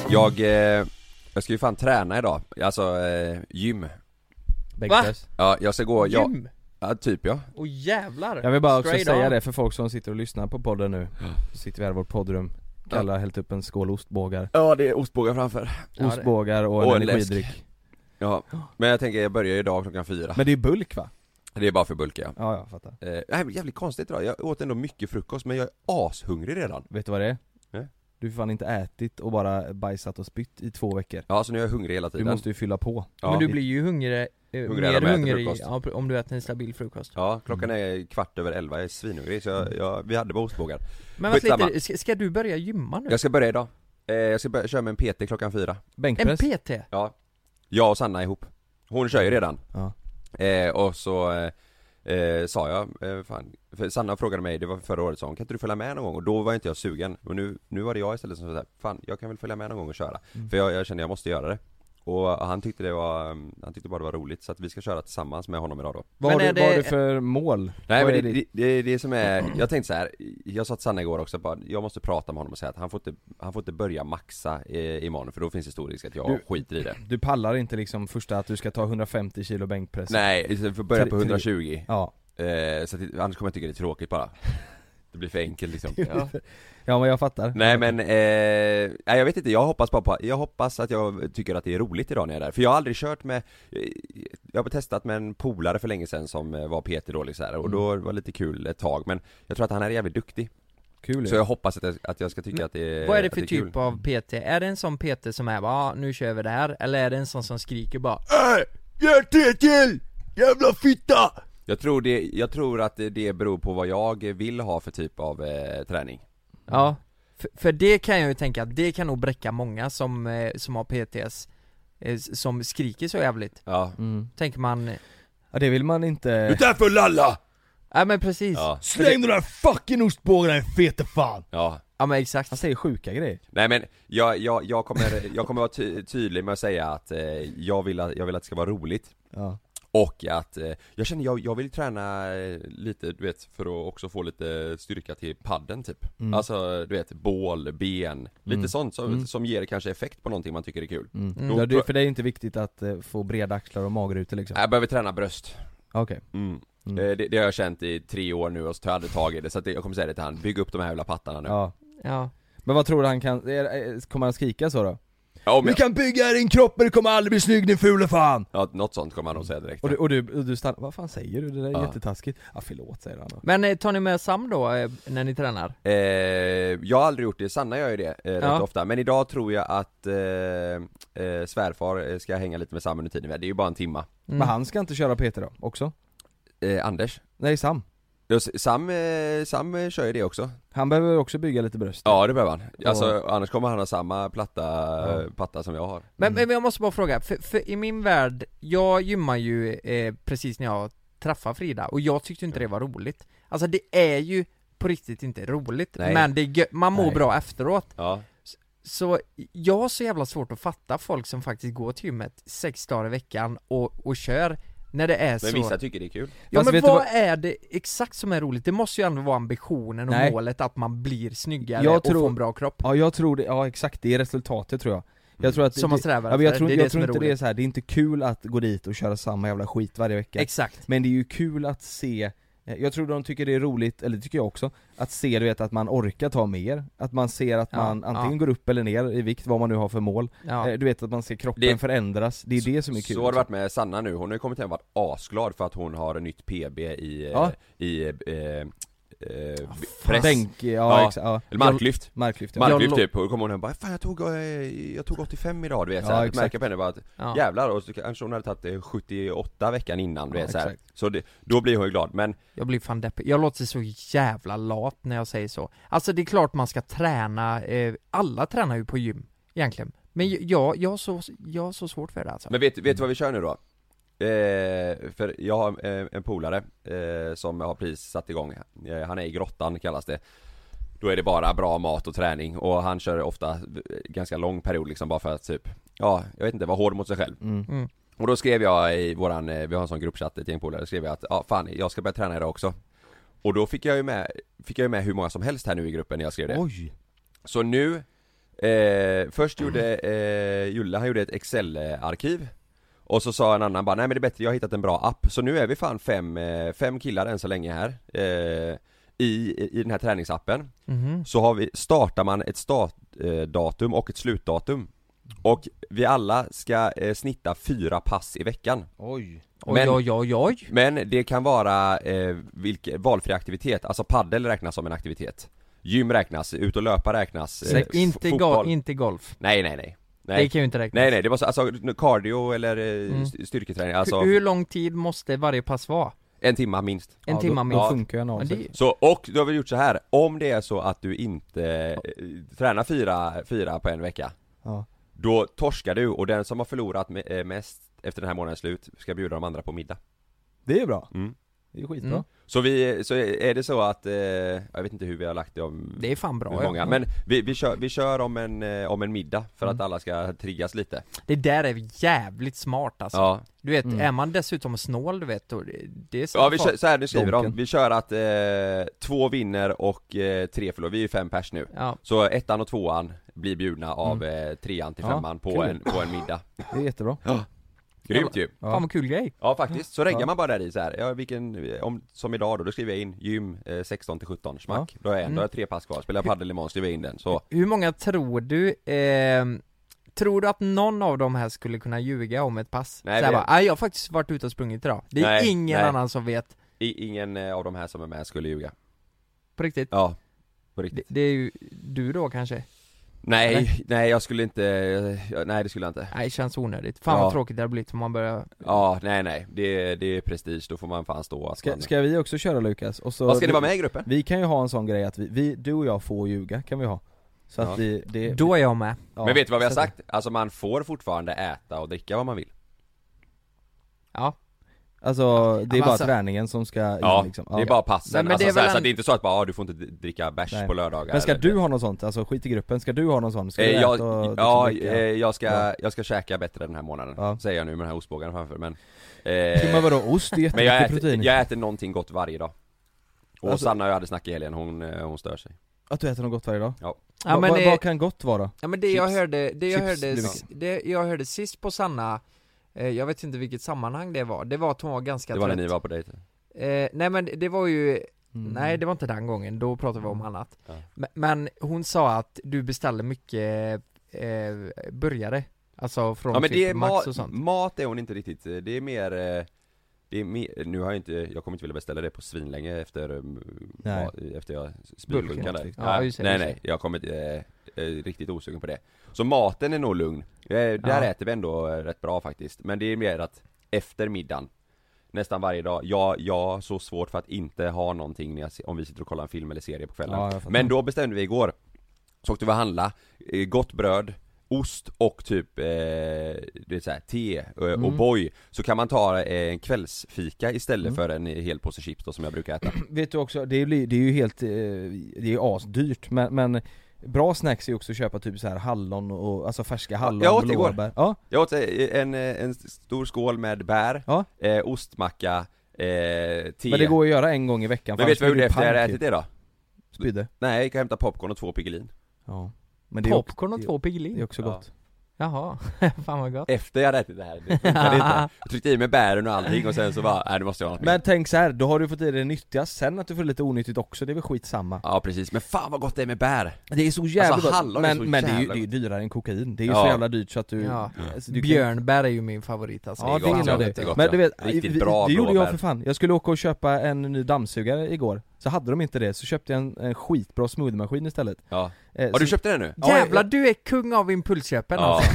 S1: Jag, eh, jag ska ju fan träna idag, alltså eh, gym
S2: Bänkpress.
S1: Ja, jag ska gå, ja,
S4: Gym!
S1: ja typ ja
S4: Åh jävlar!
S2: Jag vill bara också
S4: Straight
S2: säga
S4: on.
S2: det för folk som sitter och lyssnar på podden nu. Så sitter vi här i vårt poddrum, Kalle har hällt upp en skål ostbågar.
S1: Ja det är ostbågar framför
S4: Ja, det-
S2: Ostbågar och en
S1: Och en läsk.
S2: energidryck.
S1: Ja, men jag tänker jag börjar idag klockan fyra
S2: Men det är bulk va?
S1: Det är bara för bulka ja
S2: Ja, jag fattar.
S1: Eh, nej, men jävligt konstigt idag, jag åt ändå mycket frukost men jag är ashungrig redan
S2: Vet du vad det är?
S1: Nej.
S2: Du har fan inte ätit och bara bajsat och spytt i två veckor.
S1: Ja så nu är jag hungrig hela
S2: Du
S1: tiden
S2: måste ju fylla på.
S1: ja.
S4: Men du blir ju hungrig, eh,
S1: Hungrigare om
S4: mer
S1: jag äter
S4: hungrig
S1: frukost.
S4: ja, pr- om du äter en stabil frukost
S1: ja, klockan
S2: Mm.
S1: är kvart över elva, jag är svinhungrig så jag, jag, vi hade bara ostbågar
S4: Men vänta
S1: Skitsamma.
S4: lite, ska, ska du börja gymma nu?
S1: Jag ska börja idag, eh, jag ska börja köra med en PT klockan fyra
S4: En
S2: Bänkpress?
S4: PT?
S1: Ja, jag och Sanna ihop Hon kör ju redan
S2: Ja.
S1: eh, Och så eh, eh, sa jag, eh, fan, för Sanna frågade mig, det var förra året sa hon, kan inte du följa med någon gång? Och då var inte jag Mm. sugen, och nu, nu var det jag istället som sa så här, fan jag kan väl följa med någon gång och köra För jag, jag känner jag måste göra det Och han tyckte det var, um, han tyckte bara det var roligt så att vi ska köra tillsammans med honom idag då
S2: Vad
S4: Men
S2: har, du,
S4: är
S2: vad har du
S4: det-
S2: för mål?
S1: Nej
S2: Vad
S1: men
S2: är
S1: det,
S2: ditt-
S1: det, det är det som är, jag tänkte så här. jag sa till Sanna igår också bara, jag måste prata med honom och säga att han får inte, han får inte börja maxa i, imorgon för då finns det stor risk att jag
S2: Du-
S1: skiter i det
S2: Du pallar inte liksom första att du ska ta 150 kilo bänkpress?
S1: Nej, vi får börja på
S2: Tre- tre-
S1: 120
S2: Ja,
S1: eh, så att, det- annars kommer jag tycka det är tråkigt bara Det blir för enkelt liksom
S4: Ja.
S2: ja men jag fattar
S1: Nej men, eh, nej, jag vet inte, jag hoppas bara på, jag hoppas att jag tycker att det är roligt idag när jag är där, för jag har aldrig kört med eh, Jag har testat med en polare för länge sedan som eh, var Peter då liksom, så här, och då
S4: Mm.
S1: var det lite kul ett tag men Jag tror att han är jävligt duktig,
S2: Kul ju.
S1: så jag hoppas att jag, att jag ska tycka att det är
S2: Eh,
S4: Vad är det
S1: att
S4: för
S1: kul.
S4: typ av PT? Är det en sån PT som är bara ah, nu kör vi det här? Eller är det en sån som skriker bara
S1: Jag tror det, jag tror att det- det beror på vad jag vill ha för typ av eh, träning
S4: Ja, för, för det kan jag ju tänka att det kan nog bräcka många som, eh, som har PTS eh, s- Som skriker så jävligt,
S1: Ja
S2: mm.
S4: tänker man eh,
S2: Ja det vill man inte...
S1: där för lalla!
S4: Ja men precis, ja,
S1: Ja,
S2: Släng den där fucking ostbågarna i fete fan!
S1: ja
S4: men exakt
S2: Han säger sjuka grejer
S1: Nej men, jag, jag, jag, kommer, jag kommer vara ty- tydlig med att säga att eh, jag, vill att jag vill att det ska vara roligt
S2: Ja,
S1: Och att, eh, jag känner jag, jag vill träna eh, lite du vet för att också få lite styrka till padden typ
S2: Mm.
S1: Alltså du vet, bål, ben, lite
S2: Mm.
S1: sånt som,
S2: Mm.
S1: som ger kanske effekt på någonting man tycker är kul
S2: mm.
S4: Mm.
S2: ja
S1: Då-
S2: det, för det är inte viktigt att eh, få breda axlar och magrutor liksom
S1: Jag behöver träna bröst
S2: Okej,
S1: mm.
S2: Mm.
S1: Eh, Det, det har jag känt i tre år nu och så tar jag aldrig tag i det så att det, jag kommer säga det till han, bygg upp de här jävla pattarna nu
S2: ja
S4: Ja,
S2: Men vad tror du han kan, är- är- kommer han skrika så då?
S1: Ja, men,
S2: Du kan bygga din kropp men du kommer aldrig bli snygg din fule fan!
S1: ja något sånt kommer han nog säga direkt
S2: Och du, och du, och du stannar, vad fan säger du? Det där är
S1: Ja.
S2: jättetaskigt Ja Mm. förlåt säger han då
S4: men eh, tar ni med Sam då eh, när ni tränar?
S1: eh, Jag har aldrig gjort det, Sanna gör ju det eh,
S4: Ja.
S1: rätt ofta Men idag tror jag att eh, eh, svärfar eh, ska hänga lite med Sam under tiden, vi är. det är ju bara en timma
S4: Mm.
S2: Men han ska inte köra Peter då, också?
S1: eh, Anders?
S2: Nej Sam,
S1: Ja, s- Sam, eh, Sam eh, kör ju det också
S2: han behöver också bygga lite bröst
S1: Ja det behöver han, alltså annars kommer han ha samma platta eh, patta som jag har
S4: Men, men jag måste bara fråga, för, för i min värld, jag gymmar ju eh, precis när jag träffade Frida och jag tyckte inte det var roligt Alltså det är ju på riktigt inte roligt,
S1: Nej.
S4: men det är gö- man mår
S2: Nej.
S4: bra efteråt
S1: Ja,
S4: Så jag har så jävla svårt att fatta folk som faktiskt går till gymmet sex dagar i veckan och, och kör när det är
S1: men
S4: så
S1: vissa tycker det är kul
S4: Ja
S2: Fast
S4: men
S2: vet
S4: vad,
S2: du vad-
S4: är det exakt som är roligt? Det måste ju ändå vara ambitionen och
S2: Nej.
S4: målet att man blir snyggare
S2: Jag
S4: och
S2: tror-
S4: får en bra kropp
S2: Ja jag tror det, ja exakt, det är resultatet tror jag Jag tror att,
S4: Som man
S2: det,
S4: strävar
S2: ja, men jag
S4: efter.
S2: tror,
S4: det är
S2: jag
S4: det som
S2: tror
S4: är
S2: inte det är
S4: roligt
S2: så här. det är inte kul att gå dit och köra samma jävla skit varje vecka
S4: Exakt
S2: Men det är ju kul att se eh, jag tror de tycker det är roligt, eller det tycker jag också, att se du vet att man orkar ta mer, att man ser att
S4: Ja,
S2: man antingen
S4: ja.
S2: går upp eller ner i vikt, vad man nu har för mål,
S4: ja.
S2: Eh, du vet att man ser kroppen
S1: Det-
S2: förändras, det är det som är kul liksom.
S1: Så har det varit med Sanna nu, hon har ju kommit hem och varit asglad för att hon har en nytt PB i, eh,
S2: Ja.
S1: i eh, eh,
S2: Press.
S1: press,
S2: Bänk, ja, ja.
S1: Ja.
S2: Exa, ja.
S1: eller marklyft
S2: Marklyft ja.
S1: Marklyft
S4: Jag
S1: typ, och då kommer hon hem och bara 'Fan jag tog, eh, jag tog 85 idag' du vet
S2: Ja,
S1: så här,
S2: exakt.
S1: märker på henne bara att
S4: Ja.
S1: jävlar, och så kanske hon hade tagit eh, 78 veckan innan du
S2: Ja,
S1: vet så, här.
S2: exakt.
S1: så det, då blir hon ju glad, men
S4: Jag blir fan deppig, jag låter så jävla lat när jag säger så Alltså det är klart man ska träna, eh, alla tränar ju på gym egentligen Men ju- jag, jag, har så, jag har så svårt för det alltså
S1: Men vet, vet du vad vi kör nu då? Eh, för jag har eh, en polare eh, som har precis satt igång, eh, han är i grottan kallas det Då är det bara bra mat och träning och han kör ofta eh, ganska lång period liksom bara för att typ Ja, jag vet inte, vara hård mot sig själv
S2: Mm.
S4: Mm.
S1: Och då skrev jag i våran, eh, vi har en sån gruppchatt, ett gäng polare, skrev jag att ja fan jag ska börja träna idag också Och då fick jag ju med, fick jag ju med hur många som helst här nu i gruppen när jag skrev det
S2: Oj!
S1: så nu, eh, först gjorde eh, Julle, han gjorde ett excel-arkiv Och så sa en annan bara, nej men det är bättre, jag har hittat en bra app Så nu är vi fan fem, eh, fem killar än så länge här eh, i, I den här träningsappen
S4: Mhm.
S1: Så har vi, startar man ett startdatum och ett slutdatum Och vi alla ska eh, snitta fyra pass i veckan
S2: Oj!
S4: Oj
S1: Men-
S4: oj oj oj
S1: men det kan vara eh, vilke, valfri aktivitet, alltså paddel räknas som en aktivitet Gym räknas, ut och löpa räknas eh,
S2: Sex.
S1: f-
S4: Inte, go-
S1: fotboll.
S4: inte golf,
S1: Nej nej nej
S4: det
S1: Nej
S4: kan ju inte räknas
S1: nej, nej det var så, alltså cardio eller eh,
S4: Mm.
S1: st- styrketräning, alltså Mm.
S4: Hur- Hur lång tid måste varje pass vara?
S1: en timma minst
S4: En
S2: ja,
S4: timme
S2: då,
S4: minst?
S2: då funkar ju en
S4: Ja,
S2: avsikt.
S4: det,
S1: Så, och då har vi gjort så här om det är så att du inte eh, tränar fyra, fyra på en vecka
S2: Ja.
S1: Då torskar du och den som har förlorat me- eh, mest efter den här månadens slut ska bjuda de andra på middag
S2: Det är bra,
S1: Mm.
S2: det är skitbra
S4: Mm.
S1: Så vi, så är det så att, eh, jag vet inte hur vi har lagt det om
S4: Det är fan bra
S1: hur många,
S4: ja.
S1: men vi, vi, kör, vi kör om en, eh, om en middag för att alla ska triggas lite
S4: Det där är jävligt smart alltså.
S1: Ja,
S4: Du vet, är man dessutom snål du vet, då, det- det är
S1: ja vi kör, så här nu skriver de,
S2: Donken.
S1: vi kör att eh, två vinner och eh, tre förlorar, vi är ju fem pers nu
S4: Ja,
S1: Så ettan och tvåan blir bjudna av eh, trean till
S2: Ja,
S1: femman på,
S2: kul.
S1: en, på en middag
S2: Det är jättebra.
S1: Grymt ju!
S4: fan vad kul grej.
S1: Ja faktiskt, så reggar
S2: Ja.
S1: man bara där i så här. Ja, vilken, om, som idag då, då skriver jag in gym eh, 16 till 17, smack Då har jag en, då har jag tre pass kvar, spelar jag padel imorgon, skriver jag in den så
S4: Hur många tror du, ehm, tror du att någon av de här skulle kunna ljuga om ett pass?
S1: Nej,
S4: Nej, så här
S1: vi-
S4: bara, "Nej, jag har faktiskt varit ute och sprungit idag. Det är
S1: Nej,
S4: ingen
S1: nej.
S4: annan som vet,
S1: I, ingen eh, av de här som är med skulle ljuga
S4: på riktigt.
S1: Ja, på
S4: Det,
S1: riktigt
S4: det är ju du då kanske?
S1: Nej, nej jag skulle inte, eh, nej det skulle jag inte
S4: Nej, det känns onödigt. Fan
S1: Ja.
S4: vad tråkigt det har blivit om man börjar
S1: Ja, nej nej, det, det är prestige, då får man fan stå att
S2: Ska,
S1: man...
S2: ska vi också köra Lukas? Och så
S1: Vad ska ni vara med i gruppen?
S2: Vi kan ju ha en sån grej att vi, vi du och jag får ljuga, kan vi ha. Så
S1: Ja.
S2: att vi, det,
S4: Då är jag med.
S2: ja.
S1: Men vet du vad vi har
S2: Så att-
S1: sagt? Alltså man får fortfarande äta och dricka vad man vill
S4: Ja.
S2: Alltså det är
S4: men
S2: bara
S4: alltså-
S2: träningen som ska in,
S1: Ja,
S2: liksom.
S1: det är bara passen,
S4: Nej, men det
S1: alltså,
S4: är
S1: så, här,
S4: väl
S1: så
S4: en-
S1: att det är inte så att bara, ah, du får inte dricka bärs
S2: Nej.
S1: på lördagar
S2: Men ska
S1: eller-
S2: du ha något sånt? Alltså skit i gruppen, ska du ha någon sån? Ska du
S1: Eh,
S2: äta
S1: jag,
S2: och liksom
S1: ja,
S2: dricka?
S1: eh, jag, ska,
S2: Ja.
S1: jag ska käka bättre den här månaden,
S2: Ja.
S1: säger jag nu med den här ostbågaren framför men
S2: Men
S1: eh,
S2: vadå, ost är
S1: Men jag
S2: jättemycket
S1: äter,
S2: protein
S1: jag äter någonting gott varje dag Och
S2: Alltså-
S1: Sanna och jag hade snack i helgen, hon, eh, hon stör sig
S2: Att du äter något gott varje dag?
S4: Ja,
S2: vad,
S4: men,
S2: vad,
S4: eh,
S2: vad kan gott vara?
S4: Ja men det jag
S2: Chips.
S4: hörde, det jag
S2: Chips,
S4: hörde,
S2: det är
S4: s- det jag hörde sist på Sanna eh, Jag vet inte vilket sammanhang det var, det var att hon var ganska
S1: Det var när
S4: trött
S1: ni var på dejt
S4: eh, Nej men det var ju,
S2: Mm.
S4: nej det var inte den gången, då pratade vi om annat
S1: Ja.
S4: men, men hon sa att du beställer mycket eh, burgare Alltså från
S1: Ja men
S4: typ
S1: det är
S4: Max och
S1: mat,
S4: sånt
S1: mat är hon inte riktigt, eh, det är mer eh, det är mer, nu har jag inte, jag kommer inte vilja beställa det på svinlänge efter, mm,
S2: Nej.
S1: mat- efter jag spydbulkade där
S4: liksom. Ja,
S1: Nej,
S4: just det,
S1: Nej
S4: just
S1: nej, jag kommer inte, eh, eh, riktigt osugen på det Så maten är nog lugn, eh, där
S4: Ja.
S1: äter vi ändå eh, rätt bra faktiskt, men det är mer att efter middagen Nästan varje dag, jag, jag har så svårt för att inte ha någonting när jag, se- om vi sitter och kollar en film eller serie på kvällen
S2: Ja, jag fattar.
S1: Men då bestämde vi igår Så åkte vi och handla, eh, gott bröd, ost och typ eh, det är så här, te eh, och
S2: Mm.
S1: boy Så kan man ta eh, en kvällsfika istället för en hel påse chips då som jag brukar äta
S2: Vet du också, det, blir, det är ju helt, eh, det är asdyrt men, men Bra snacks är ju också att köpa typ så här hallon och, alltså färska hallon
S1: jag åt
S2: och
S1: det igår.
S2: blåbär Ja,
S1: Jag åt eh, en, eh, en stor skål med bär,
S2: Ja.
S1: eh, ostmacka, eh, te
S2: men det går att göra en gång i veckan
S1: Men vet du vad jag gjorde efter jag hade ätit
S2: det?
S1: det då?
S2: Spydde
S1: Nej, jag gick och hämtade popcorn och två Piggelin
S2: Ja Men det är, också,
S4: Popcorn och
S2: det-
S4: två
S2: det är
S4: Piggelin,
S2: också
S1: Ja.
S2: gott
S4: jaha, fan vad gott
S1: Efter jag hade ätit det här, det funkade inte Jag tryckte i mig bären och allting och sen så bara, nej det måste jag ha något mer
S2: Men tänk så här, då har du fått i dig det nyttiga, sen att du får lite onyttigt också, det är väl skitsamma
S1: Ja precis, men fan vad gott det är med bär!
S2: Det är så
S1: jävla
S2: jävla
S1: gott.
S2: gott, men,
S1: Men- men
S2: det är ju det är ju dyrare än kokain, det är ju
S1: Ja. Mm.
S2: så jävla dyrt så att du,
S4: Ja.
S2: alltså, du kan-
S4: Björnbär är ju min favorit alltså
S2: Ja
S1: Det är gott,
S2: det gillar
S1: ja.
S2: du,
S1: Det är gott,
S2: men
S1: ja.
S2: du vet,
S1: Riktigt
S2: vi-
S1: bra
S2: det gjorde jag
S1: blåbär.
S2: för fan, jag skulle åka och köpa en ny dammsugare igår Så hade de inte det, så köpte jag en, en skitbra smoothiemaskin istället
S1: Ja.
S2: eh,
S1: Har du
S2: så,
S1: köpt den nu?
S2: Ja,
S4: Jävlar
S2: jag-
S4: du är kung av impulsköpen
S1: Ja.
S4: alltså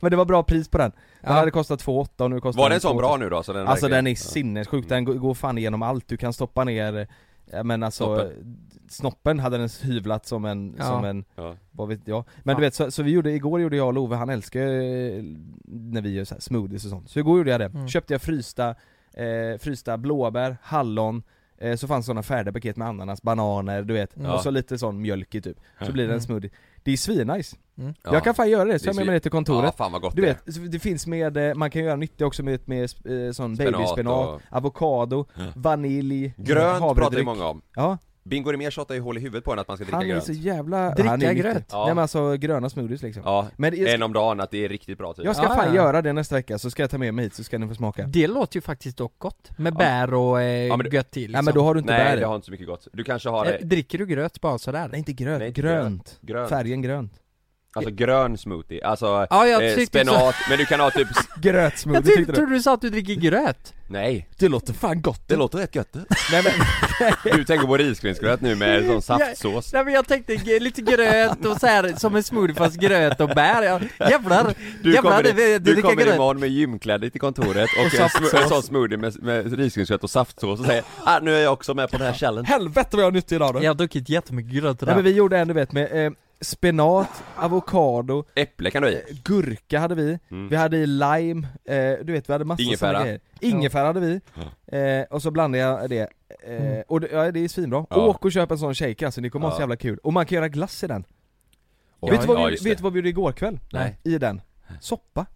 S2: Men det var bra pris på den, den
S4: Ja.
S2: hade kostat 2,8 och nu kostar
S1: Var den sån
S2: 2,8.
S1: bra nu då? Så den
S2: Alltså
S1: verkligen-
S2: den är sinnessjuk, den går- går fan igenom allt, du kan stoppa ner eh, men alltså, snoppen, snoppen hade den hyvlat som en,
S4: Ja.
S2: som en,
S1: Ja.
S2: vad vet jag Men
S4: Ja.
S2: du vet, så, så vi gjorde, igår gjorde jag och Love, han älskar ju när vi gör så här smoothies och sånt Så igår gjorde jag det,
S4: Mm.
S2: köpte jag frysta, eh, frysta blåbär, hallon eh, så fanns sådana färdiga paket med ananas, bananer, du vet,
S1: Mm.
S4: Ja.
S2: och så lite sån mjölk i typ Så blir det en
S4: Mm.
S2: smoothie Det är svinnice,
S1: Ja.
S2: jag kan fan göra det, så
S1: Det är
S2: jag med
S1: svin-
S2: mig det till kontoret
S1: Ja fan vad gott
S2: du
S1: det är.
S2: vet, så det finns med, eh, man kan göra nyttiga också med, med eh, sån
S1: Spenat
S2: babyspenat,
S1: och-
S2: avokado, vanilj, eh,
S1: Grönt pratar ju
S2: havredryck.
S1: många om
S2: Ja,
S1: Bingo Rimér tjatar ju hål i huvudet på en att man ska dricka
S2: han är
S1: grönt
S2: så jävla...
S4: Dricka
S2: han är
S4: gröt.
S2: nyttigt.
S1: Ja.
S2: Nej men alltså gröna smoothies liksom
S1: Ja,
S2: Men jag,
S1: en om dagen att det är riktigt bra typ. tydligen
S2: jag ska
S4: Ja,
S2: fan
S4: ja.
S2: göra det nästa vecka, så ska jag ta med mig hit så ska ni få smaka
S1: Liksom.
S4: Det låter ju faktiskt dock gott, med bär och eh,
S1: Ja, men du-
S4: gött till liksom.
S2: Nej men då har du inte
S1: Nej
S2: bär
S1: det
S2: i.
S1: har inte så mycket gott, du kanske har
S4: Eh,
S1: det
S4: Dricker du gröt bara sådär?
S2: Nej inte gröt,
S1: Nej, inte
S2: grönt.
S1: grönt,
S2: Färgen grönt
S1: alltså grön smoothie, alltså
S4: Ja, jag
S1: eh,
S4: tyckte så-
S1: spenat, men du kan ha typ, s-
S2: Grötsmoothie
S4: Jag
S2: tyckte,
S4: tyckte,
S2: du?
S4: trodde du sa att du dricker gröt
S1: nej
S2: Det låter fan gott
S1: Det låter rätt gött
S2: Nej men,
S1: Du tänker på risgrynsgröt nu med sån saftsås
S4: Nej men jag tänkte g- lite gröt och så här som en smoothie fast gröt och bär, jag, jävlar!
S1: Du
S4: jävlar,
S1: kommer, i-
S4: det- det-
S1: du
S4: dricker
S1: kommer
S4: gröt.
S1: imorgon med gymkläder till kontoret och, en, sm- en sån smoothie med, med risgrynsgröt och saftsås och säger ah, nu är jag också med på den här challenge
S2: helvete vad jag har nytta idag då!
S4: Jag har druckit jättemycket gröt
S2: Nej
S4: idag
S2: men vi gjorde en du vet med, eh, spenat, avokado,
S1: Äpple kan du ha i.
S2: eh, gurka hade vi,
S1: Mm.
S2: vi hade i lime, eh, du vet vi hade massor
S1: Ingefära.
S2: såna grejer Ingefära hade vi, eh, och så blandade jag det, eh, och det, ja, det är svinbra
S1: Ja.
S2: Åk och köp en sån shaker alltså, det kommer vara så
S1: Ja.
S2: jävla kul, och man kan göra glass i den
S1: Oj,
S2: Vet du
S1: ja,
S2: vad, vi,
S1: just
S2: vet
S1: det.
S2: du vad vi gjorde igår kväll?
S1: Nej.
S2: I den? Soppa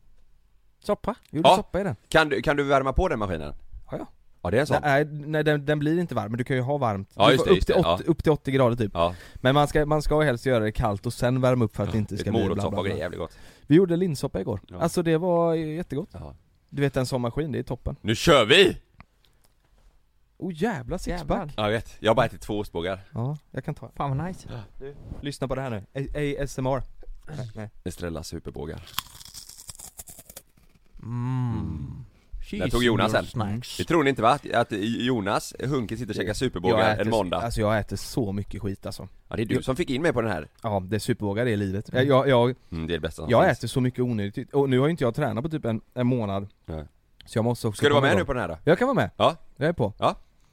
S4: Soppa?
S2: Vi gjorde
S1: Ja.
S2: soppa i den
S1: Kan, du, kan du värma på den maskinen?
S2: Ja, ja.
S1: Ja det är en sån?
S2: Nej, nej den, den blir inte varm, men du kan ju ha varmt
S1: Ja,
S2: Du
S1: just
S2: får
S1: det,
S2: upp,
S1: just
S2: till
S1: det,
S2: 80, upp till 80 grader typ
S1: Ja,
S2: Men man ska, man ska helst göra det kallt och sen värma upp för att det inte
S1: lite
S2: ska bli bla,
S1: morotssoppa
S2: bla,
S1: och grejer,
S2: bla.
S1: jävligt gott
S2: Vi gjorde linssoppa igår,
S1: Ja.
S2: alltså det var jättegott
S1: ja.
S2: Du vet en sommarmaskin, det är toppen
S1: Nu kör vi!
S2: Oh jävla
S4: Jävlar.
S2: sixpack!
S1: Ja, jag vet, jag har bara ätit två ostbågar
S2: Ja, jag kan ta en
S4: Fan vad nice
S2: Lyssna på det här nu, A- ASMR Nej, nej.
S1: Estrella superbågar
S4: mm.
S1: Där tog Jonas
S4: Cheese
S1: en.
S4: snacks.
S1: Det tror ni inte va? Att- Att Jonas Hunke sitter och käkar
S2: Jag
S1: superbågar
S2: äter
S1: en
S2: så-
S1: måndag
S2: Alltså jag äter så mycket skit alltså
S1: Ja det är du som fick in mig på den här
S2: Ja, det är supervågar, det är livet Jag, jag, jag,
S1: mm, Det är det bästa som
S2: jag
S1: finns.
S2: äter så mycket onödigt, och nu har ju inte jag tränat på typ en, en månad
S1: Nej.
S2: Så jag måste också
S1: Ska du vara
S2: komma
S1: med nu
S2: igång.
S1: på den här då?
S2: Jag kan vara med,
S1: Ja.
S2: jag är på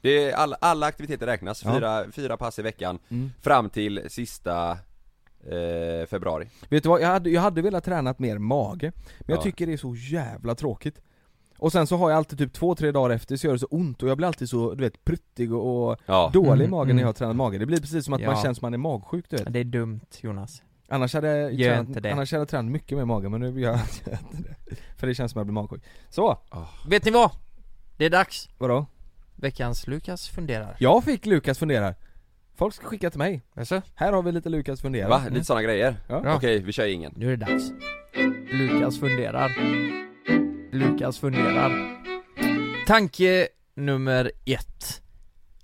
S1: Det är all, alla aktiviteter räknas,
S2: Ja.
S1: fyra, fyra pass i veckan
S2: Mm.
S1: Fram till sista eh, februari
S2: Vet du vad, jag hade, jag hade velat tränat mer mage, men jag
S1: Ja.
S2: tycker det är så jävla tråkigt Och sen så har jag alltid typ två, tre dagar efter så gör det så ont och jag blir alltid så, du vet, pruttig och, och
S1: Ja,
S2: dålig i
S4: Mm,
S2: magen
S4: mm.
S2: när jag har tränat mage Det blir precis som att man
S4: Ja.
S2: känns som man är magsjuk
S1: Mm.
S2: du vet
S4: Det är dumt Jonas
S2: Annars hade jag
S4: Gör
S2: tränat,
S4: inte det.
S2: annars hade jag tränat mycket mer mage men nu gör jag inte det För det känns som att jag blir magsjuk Så!
S4: Vet ni vad? Det är dags
S2: Vadå?
S4: Veckans Lukas funderar
S2: Jag fick Lukas funderar Folk ska skicka till mig
S4: Jaså?
S2: Här har vi lite Lukas Mm. funderar
S1: va? Lite såna grejer?
S2: Ja.
S1: Okej, vi kör ingen
S4: Nu är det dags Lukas funderar Lukas funderar Tanke nummer ett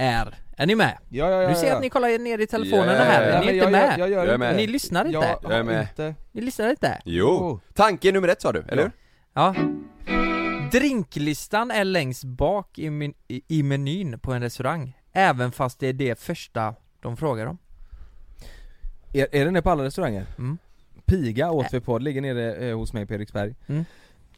S4: är, är ni med?
S2: Ja, ja, ja, ja,
S4: Nu ser jag att
S2: ja.
S4: ni kollar ner i telefonerna
S1: Ja,
S4: här,
S1: ja, ja.
S4: ni
S2: men
S4: är
S2: jag-
S4: inte med?
S2: Jag, jag, gör
S1: Jag är
S2: inte
S1: med.
S2: det.
S4: Ni lyssnar inte?
S2: Jag,
S1: Jag är med.
S2: Inte.
S4: Ni lyssnar inte?
S1: Jo! Tanke nummer ett sa du, eller hur?
S4: Ja Drinklistan är längst bak i, men- i- i menyn på en restaurang Även fast det är det första de frågar om
S2: Är, är den det på alla restauranger?
S4: Mm.
S2: Piga åt vi på, ligger nere eh, hos mig på Eriksberg
S4: Mm.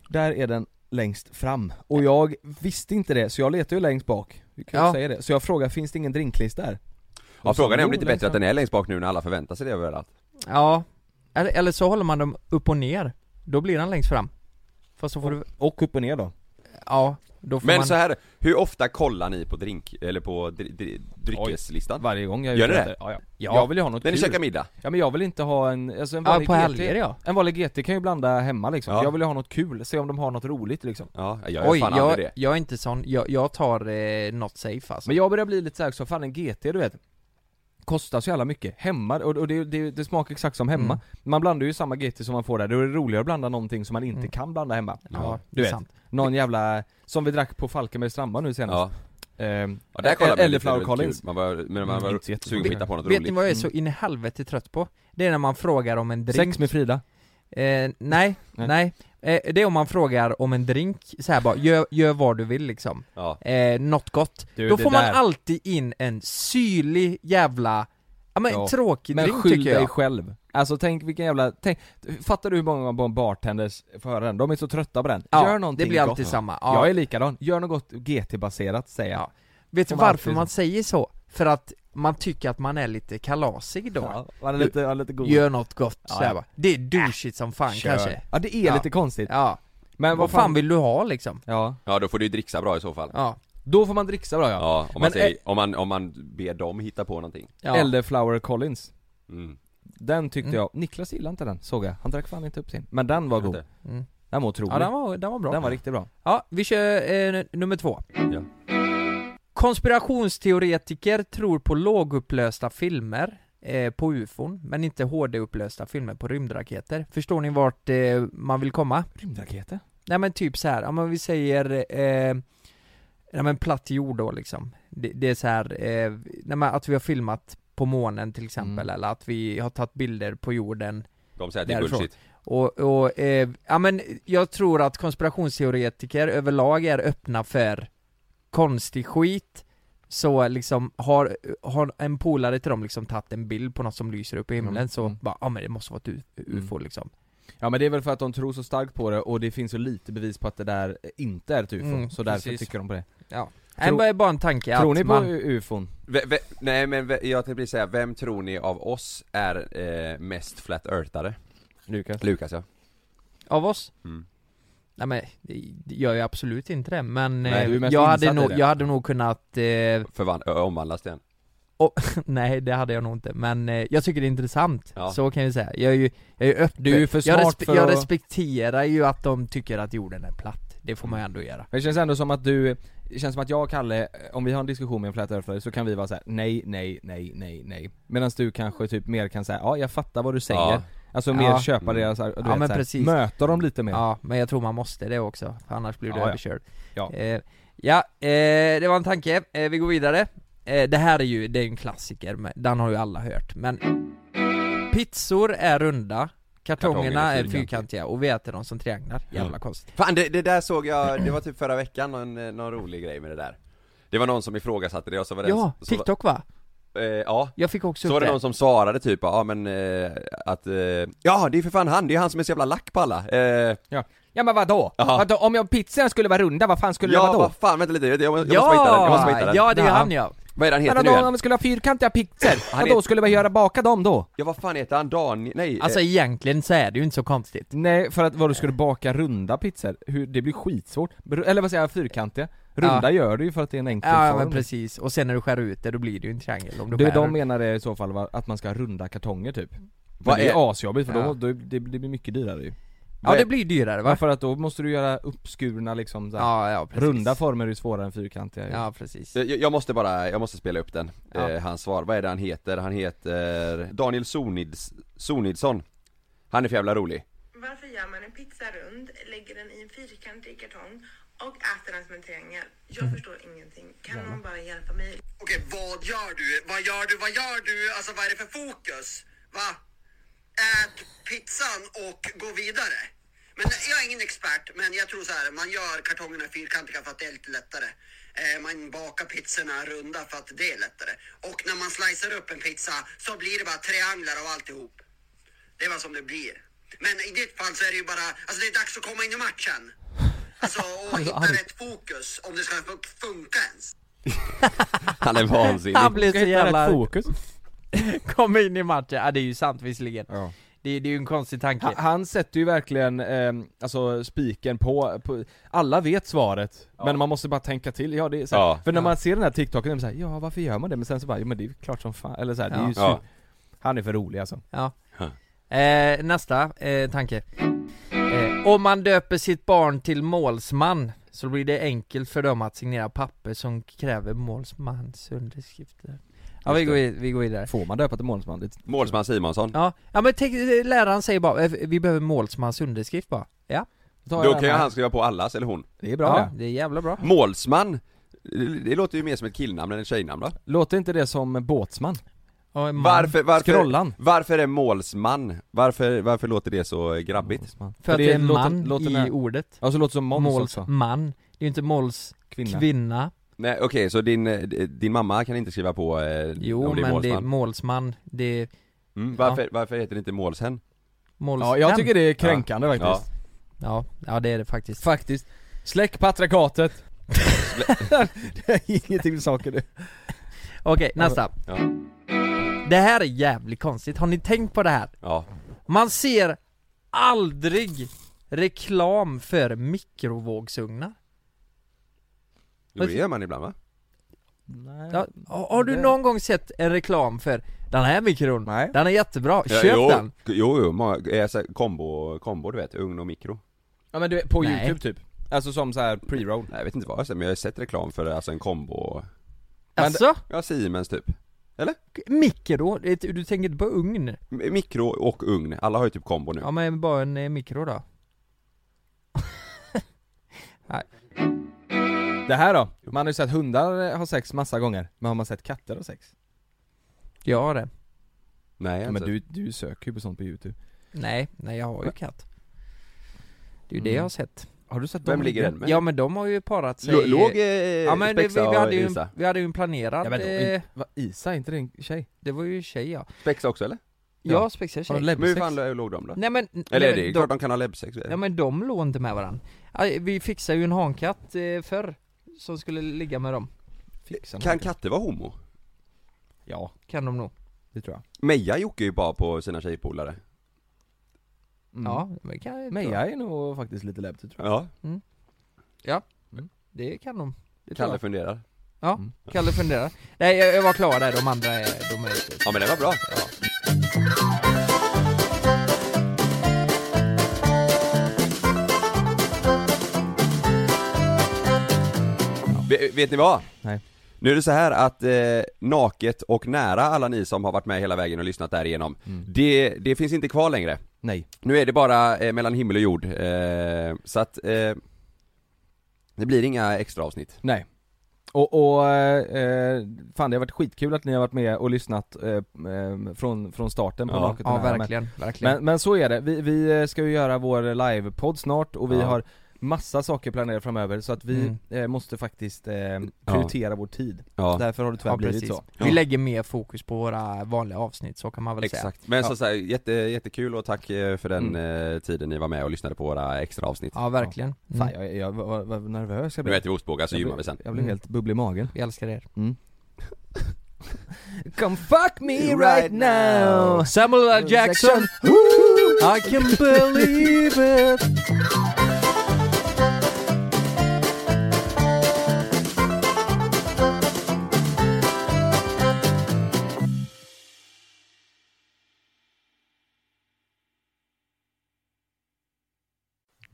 S2: Där är den längst fram, och jag visste inte det så jag letar ju längst bak Vi kan ju
S4: Ja.
S2: säga det, så jag frågar finns det ingen drinklist där?
S1: Ja,
S2: Och så,
S1: frågan är om
S2: Alltså, jo, liksom.
S1: det inte är bättre
S2: längst
S1: att
S2: fram.
S1: den är längst bak nu när alla förväntar sig det överallt
S4: Ja eller, eller så håller man dem upp och ner Då blir den längst fram Fast så får du,
S2: Och upp och ner då?
S4: ja då får
S1: Men
S4: man
S1: så här, hur ofta kollar ni på drink, eller på dri, dri, dryckeslistan?
S2: Varje gång jag
S1: Gör
S2: ute
S1: det?
S2: efter- Ja, ja.
S4: Ja.
S2: Jag vill ju ha något
S1: När ni
S2: kul.
S1: käkar middag?
S2: Ja men jag vill inte ha en, alltså en
S4: Ja
S2: vanlig
S4: på
S2: GT
S4: helger ja
S2: En vanlig GT kan ju blanda hemma liksom,
S1: Ja.
S2: jag vill ju ha något kul, se om de har något roligt liksom
S1: Ja, jag gör
S4: Oj,
S1: fan
S4: jag,
S1: aldrig det
S4: jag är inte sån, jag, jag tar eh, något safe alltså.
S2: Men jag börjar bli lite såhär också, fan en GT du vet Kostar så jävla mycket, hemma, och, och det, det, det smakar exakt som hemma
S4: Mm.
S2: Man blandar ju samma GT som man får där, då är det roligare att blanda någonting som man inte
S4: Mm.
S2: kan blanda hemma
S4: ja,
S2: du
S4: det är
S2: vet.
S4: sant.
S2: Någon jävla, som vi drack på Falkenbergs strandbar nu senast
S1: Ja,
S2: Ehm,
S1: ja där kollar man
S2: Eller
S1: lite, det är
S2: Flower
S1: väl kul.
S2: Collins
S1: Man var, men man
S2: Mm,
S1: var
S2: inte så jättebra.
S1: sugen på att hitta på något
S4: Vet ni
S1: roligt
S4: vad jag är så in i helvete trött på? Det är när man frågar om en drink.
S2: Mm. Sex med Frida
S4: Eh, nej,
S2: Nej.
S4: nej. Eh, det är om man frågar om en drink, så här bara, gör, gör vad du vill liksom.
S1: Ja,
S4: Eh, något gott.
S2: Du,
S4: Då
S2: det
S4: får man
S2: där.
S4: alltid in en syrlig jävla, ja men
S2: Ja.
S4: tråkig
S2: Men
S4: drink
S2: skyll
S4: tycker
S2: dig
S4: jag.
S2: själv Alltså tänk vilken jävla, tänk, fattar du hur många gånger bartenders får höra den? De är så trötta på den, gör
S4: Ja,
S2: någonting
S4: det blir
S2: gott
S4: alltid samma. Ja.
S2: Jag är likadan, gör något gott GT-baserat säger jag
S4: Ja. Vet du
S2: Som alltid
S4: varför
S2: så.
S4: man säger så? För att man tycker att man är lite kalasig då.
S2: ja, man är lite, man är lite god
S4: Gör något gott
S2: Ja,
S4: så här
S2: ja.
S4: bara. Det är douchigt som fan
S2: Kör.
S4: kanske
S2: Ja det är
S4: Ja.
S2: lite konstigt
S4: Ja,
S2: Men
S4: Äh, men vad fan vill du ha liksom?
S2: Ja,
S1: ja då får du ju dricksa bra i så fall Ja,
S4: Ja,
S2: då får man dricksa bra ja,
S1: om,
S2: Men, eh-
S1: man säger, om, man, om man ber dem hitta på någonting
S4: ja.
S2: Elderflower Collins
S1: mm.
S2: Den tyckte
S4: Mm.
S2: jag, Niklas gillade inte den såg jag, han drack fan inte upp sin Men den var god,
S1: Inte.
S4: Mm.
S2: den var otrolig
S4: ja den, var, den var bra
S2: Den var riktigt bra
S4: Ja, vi kör eh, n- nummer två
S1: Ja.
S4: Konspirationsteoretiker tror på lågupplösta filmer eh, på ufon, men inte HD-upplösta filmer på rymdraketer Förstår ni vart eh, man vill komma?
S2: Rymdraketer?
S4: Nej men typ så här, ja men vi säger eh, Nej men platt jord då liksom Det, det är så här, eh, nej, men att vi har filmat på månen till exempel
S2: Mm.
S4: eller att vi har tagit bilder på jorden
S1: De säger att det är
S4: Därifrån.
S1: bullshit
S4: och, och eh, ja men jag tror att konspirationsteoretiker överlag är öppna för konstig skit Så liksom har, har en polare till dem liksom tagit en bild på något som lyser upp i himlen
S2: Mm.
S4: så
S2: Mm.
S4: bara, ja men det måste vara ett u- ufo liksom
S2: Ja men det är väl för att de tror så starkt på det och det finns ju lite bevis på att det där inte är ett ufo,
S4: Mm,
S2: så därför
S4: precis.
S2: tycker de på det
S4: Ja, Nej,
S2: Tro-
S4: bara- bara en tanke
S2: Tror
S4: att
S2: ni på
S4: man...
S2: u- ufon?
S1: Ve- ve- nej men ve- jag tänkte precis säga, vem tror ni av oss är eh, mest flat earthare?
S2: Lukas?
S1: Lukas ja.
S4: Av oss?
S1: Mm.
S4: Nej men, det gör ju absolut inte det, men
S2: Nej,
S4: eh,
S2: du är mest
S4: jag, hade
S2: insatt i
S4: nog,
S2: det.
S4: jag hade nog kunnat, eh,
S1: Förvan- ö, omvandlas till en.
S4: nej det hade jag nog inte, men eh, jag tycker det är intressant,
S1: Ja.
S4: så kan jag säga. Jag är ju, jag är ju öppen.
S2: Du är ju för
S4: jag,
S2: smart för
S4: jag
S2: att-
S4: respekterar ju att de tycker att jorden är platt, det får man ju ändå göra.
S2: Men det känns ändå som att du, det känns som att jag och Kalle, eh, om vi har en diskussion med en flat earthare så kan vi vara så här: nej, nej, nej, nej, nej. Medan du kanske typ mer kan säga ja jag fattar vad du säger.
S1: Ja.
S2: Alltså mer
S4: Ja.
S2: köpa
S1: Mm.
S2: deras, du
S4: Ja,
S2: vet,
S4: men
S2: så här,
S4: precis.
S2: möta dem lite mer.
S4: Ja, men jag tror man måste det också, för annars blir du
S2: Ja, ja.
S4: överkörd.
S2: Ja.
S4: Eh, ja eh, det var en tanke. Eh, vi går vidare. Eh, det här är ju, det är en klassiker, men den har ju alla hört, men Pizzor är runda, kartongerna
S1: Kartongerna är
S4: är
S1: fyrkantiga.
S4: fyrkantiga och vi äter dem som trianglar. Jävla konstigt.
S1: Fan det, det där såg jag, det var typ förra veckan någon, eh, någon rolig grej med det där. Det var någon som ifrågasatte det och så var det
S4: Ja,
S1: så, var-
S4: TikTok va?
S1: eh, ja.
S4: Jag fick också
S1: Så var
S4: upp
S1: det
S4: det.
S1: någon som svarade typ, ja men eh, att, eh, ja det är för fan han, det är han som är så jävla lack på alla. Eh,
S2: Ja men vadå?
S1: Ja.
S2: vadå? Om jag pizzan skulle vara runda, vad fan skulle
S1: ja,
S2: det vara då?
S1: vad fan vänta lite, jag, jag, måste, jag måste hitta den, jag måste hitta
S4: Ja,
S1: den.
S4: ja det är
S2: Ja.
S4: han ja.
S1: Vad är det han heter
S2: Men
S1: nu
S2: då, om
S1: igen?
S2: vi skulle ha fyrkantiga pizzor,
S1: Han
S2: vad då
S1: är-
S2: skulle vi göra baka dem då?
S1: Ja vad fan heter han, Daniel, nej,
S4: Alltså
S1: eh,
S4: egentligen så är det ju inte så konstigt.
S2: Nej, för att vad du skulle baka runda pizzor, hur, det blir skitsvårt. Br- Eller vad säger jag, fyrkantiga? Runda
S4: Ja.
S2: gör du ju för att det är en enkel
S4: Ja men
S2: form.
S4: precis, och sen när du skär ut det då blir det ju en triangel om du
S2: Du,
S4: skär
S2: de
S4: ut.
S2: menar det i så fall va, att man ska ha runda kartonger typ.
S1: Vad
S2: Vad det
S1: är-
S2: är asjobbigt för
S4: Ja.
S2: då, då det, det blir mycket dyrare ju.
S4: Ja det blir dyrare va?
S2: För att då måste du göra uppskurna liksom så här.
S4: Ja, ja precis.
S2: Runda former är ju svårare än fyrkantiga ju.
S4: Ja precis.
S1: jag, jag måste bara, jag måste spela upp den,
S4: Ja.
S1: eh, hans svar, vad är det han heter? Han heter Daniel Sonids, Sonidsson Han är för jävla rolig
S7: Varför gör man en pizza rund, lägger den i en fyrkantig kartong och äter den som en triangel? Jag förstår ingenting. Kan någon bara hjälpa mig?
S8: Okej, vad gör du? Vad gör du? Vad gör du? Alltså vad är det för fokus? Va? Ät pizzan och gå vidare. Men jag är ingen expert, men jag tror så här, man gör kartongerna fyrkantiga för att det är lite lättare. Eh, man bakar pizzorna runda för att det är lättare. Och när man slicear upp en pizza så blir det bara trianglar av alltihop. Det är vad som det blir. Men i ditt fall så är det ju bara, alltså det är dags att komma in i matchen. Alltså och hitta rätt fokus om det ska fun- funka ens.
S1: Han är vansinnig
S4: Han blev så
S2: Ska hitta rätt
S4: jävla...
S2: fokus.
S4: Kom in i matchen, ja det är ju sant visserligen.
S2: Ja.
S4: Det, det är ju en konstig
S2: Han,
S4: tanke.
S2: han sätter ju verkligen, eh, alltså spiken på, på, alla vet svaret, men man måste bara tänka till, ja det är så här,
S1: Ja.
S2: För när man ser den här TikToken, är man så här, ja varför gör man det? Men sen så bara, jo men det är ju klart som fan, eller så här, det är ju
S1: Ja.
S2: su- Han är för rolig alltså.
S4: Ja. Eh, nästa eh, tanke. Eh, om man döper sitt barn till målsman så blir det enkelt för dem att signera papper som kräver målsmans underskrifter. Ja, vi går, vid- vi går vidare.
S2: Får man döpa till målsman? Det-
S1: Målsman Simonsson
S4: Ja, ja men tänk, eh, läraren säger bara, eh, vi behöver målsmans underskrift bara. Ja,
S2: tar
S1: Då
S2: jag
S1: kan ju
S2: den här.
S1: han skriva på allas, eller hon
S2: Det är bra
S4: ja
S2: det.
S4: det är jävla bra.
S1: Målsman, det- det låter ju mer som ett killnamn än ett tjejnamn va?
S2: Låter inte det som båtsman?
S4: Ja, en man.
S1: Varför, varför,
S2: Skrollan.
S1: varför är målsman? Varför, varför låter det så
S4: Mm.
S1: grabbigt?
S2: Båtsman.
S4: För att det är en
S2: låter-
S4: man
S2: låter
S4: i
S2: när-
S4: ordet.
S2: Ja så låter det som moms också.
S4: Målsman. Det är ju inte
S2: Kvinna.
S4: målskvinna.
S1: Nej okej, så din, eh, din mamma kan inte skriva på eh,
S4: Jo,
S1: om det är
S4: men det är
S1: målsman?
S4: målsman. Det är
S1: mm, varför, varför heter det inte målshen?
S4: måls...
S2: ja jag
S4: den.
S2: tycker det är kränkande
S1: Ja.
S2: faktiskt.
S4: Ja, ja, det är det faktiskt.
S2: Faktiskt. Släck patriarkatet. det är ingenting med saker nu.
S4: Okej, nästa.
S1: Ja.
S4: Det här är jävligt konstigt, har ni tänkt på det här?
S1: ja.
S4: Man ser aldrig reklam för mikrovågsugnar.
S1: Jo, det gör man ibland va?
S4: Ja, har har du någon gång sett en reklam för den här mikron?
S2: Nej.
S4: Den är jättebra,
S1: Ja,
S4: köp
S1: jo,
S4: den!
S1: Jo, jo, många, eh, så här, kombo, kombo du vet, ugn och mikro
S2: Ja men du, på
S4: Nej.
S2: youtube typ. Alltså som så här pre-roll. Alltså,
S1: Nej, Jag vet inte vad jag säger, men jag har sett reklam för alltså en kombo,
S2: Men-
S4: Alltså,
S1: ja Siemens typ
S4: mikro? Det- Du tänker inte på ugn?
S1: M- Mikro och ugn, alla har ju typ kombo nu
S4: Ja men bara en eh, mikro då
S2: Det här då? Man har ju sett hundar eh, ha sex massa gånger, men har man sett katter ha sex?
S4: Jag har det
S1: Nej,
S2: Ja,
S1: jag
S2: men
S1: men
S2: du, du söker ju på sånt på youtube.
S4: Nej, nej jag har ju katt Det är ju det
S2: Mm.
S4: jag har sett
S2: Har du sett
S1: Vem
S2: dem
S1: ligger den med?
S4: Ja men de har ju parat sig
S1: L- Låg eh, ja,
S4: Ja men det, vi, vi, hade ju
S1: och
S4: en,
S1: Isa?
S4: vi hade ju en planerad,
S2: Ja, men då,
S4: eh,
S2: Va, Isa, är inte det en tjej?
S4: det var ju tjej ja
S1: Spexa också eller?
S4: Ja,
S2: Ja.
S4: spexad
S2: Har de
S4: tjej
S1: Men hur
S2: läbbsex?
S1: fan lo- låg de då?
S4: Nej men,
S1: Eller
S4: nej,
S1: är det är
S4: men
S1: klart
S4: de,
S1: de kan ha läbbsex
S4: ja, men de låg inte med varandra Vi fixade ju en hankatt eh, förr som skulle ligga med dem
S2: Fixa
S1: Kan
S2: något.
S1: katter vara homo?
S2: Ja,
S4: Kan de nog
S2: det tror jag
S1: Meja jockar ju bara på sina tjejpolare
S2: mm.
S4: Ja, men kan
S2: Men jag är nog faktiskt lite läbbig tror jag
S1: Ja,
S2: Mm.
S4: Det kan de det tror
S1: Kalle
S4: jag.
S1: funderar
S4: Kalle funderar Nej jag, jag var klar där, de andra är, de är inte
S1: Ja men det var bra ja. Ve- Vet ni vad?
S2: Nej.
S1: Nu är det så här att eh, naket och nära alla ni som har varit med hela vägen och lyssnat därigenom
S2: Mm.
S1: det, det finns inte kvar längre
S2: Nej,
S1: Nu är det bara eh, mellan himmel och jord eh, Så att eh, Det blir inga extra avsnitt
S2: nej och, och eh, fan det har varit skitkul att ni har varit med och lyssnat eh, eh, från, från starten på
S1: Ja.
S2: Naket och
S4: Ja
S2: Nära, men-
S4: verkligen, verkligen
S2: Men, men så är det, vi, vi eh, ska ju göra vår livepodd snart och vi
S1: Ja.
S2: har massa saker planerade framöver så att vi
S4: Mm.
S2: eh, måste faktiskt eh, prioritera vår tid.
S1: Ja,
S2: Därför har det tyvärr
S4: Ja,
S2: blivit
S4: precis.
S2: så.
S4: Vi
S1: Ja.
S4: lägger mer fokus på våra vanliga avsnitt, så kan man väl säga
S1: exakt Men
S2: Ja.
S1: som sagt, jätte, jättekul och tack eh, för den eh, tiden ni var med och lyssnade på våra extra avsnitt
S4: Ja verkligen,
S2: Fan
S4: mm.
S2: jag, jag, vad, vad nervös jag
S1: Nu
S2: blev.
S1: äter vi ostbågar så
S2: Jag
S1: gymmar
S2: blev-
S1: vi sen
S2: Jag blev
S4: Mm.
S2: helt bubblig i magen.
S4: vi älskar er
S2: Mm. Come fuck me right now!
S4: Samuel L. Jackson, I can believe it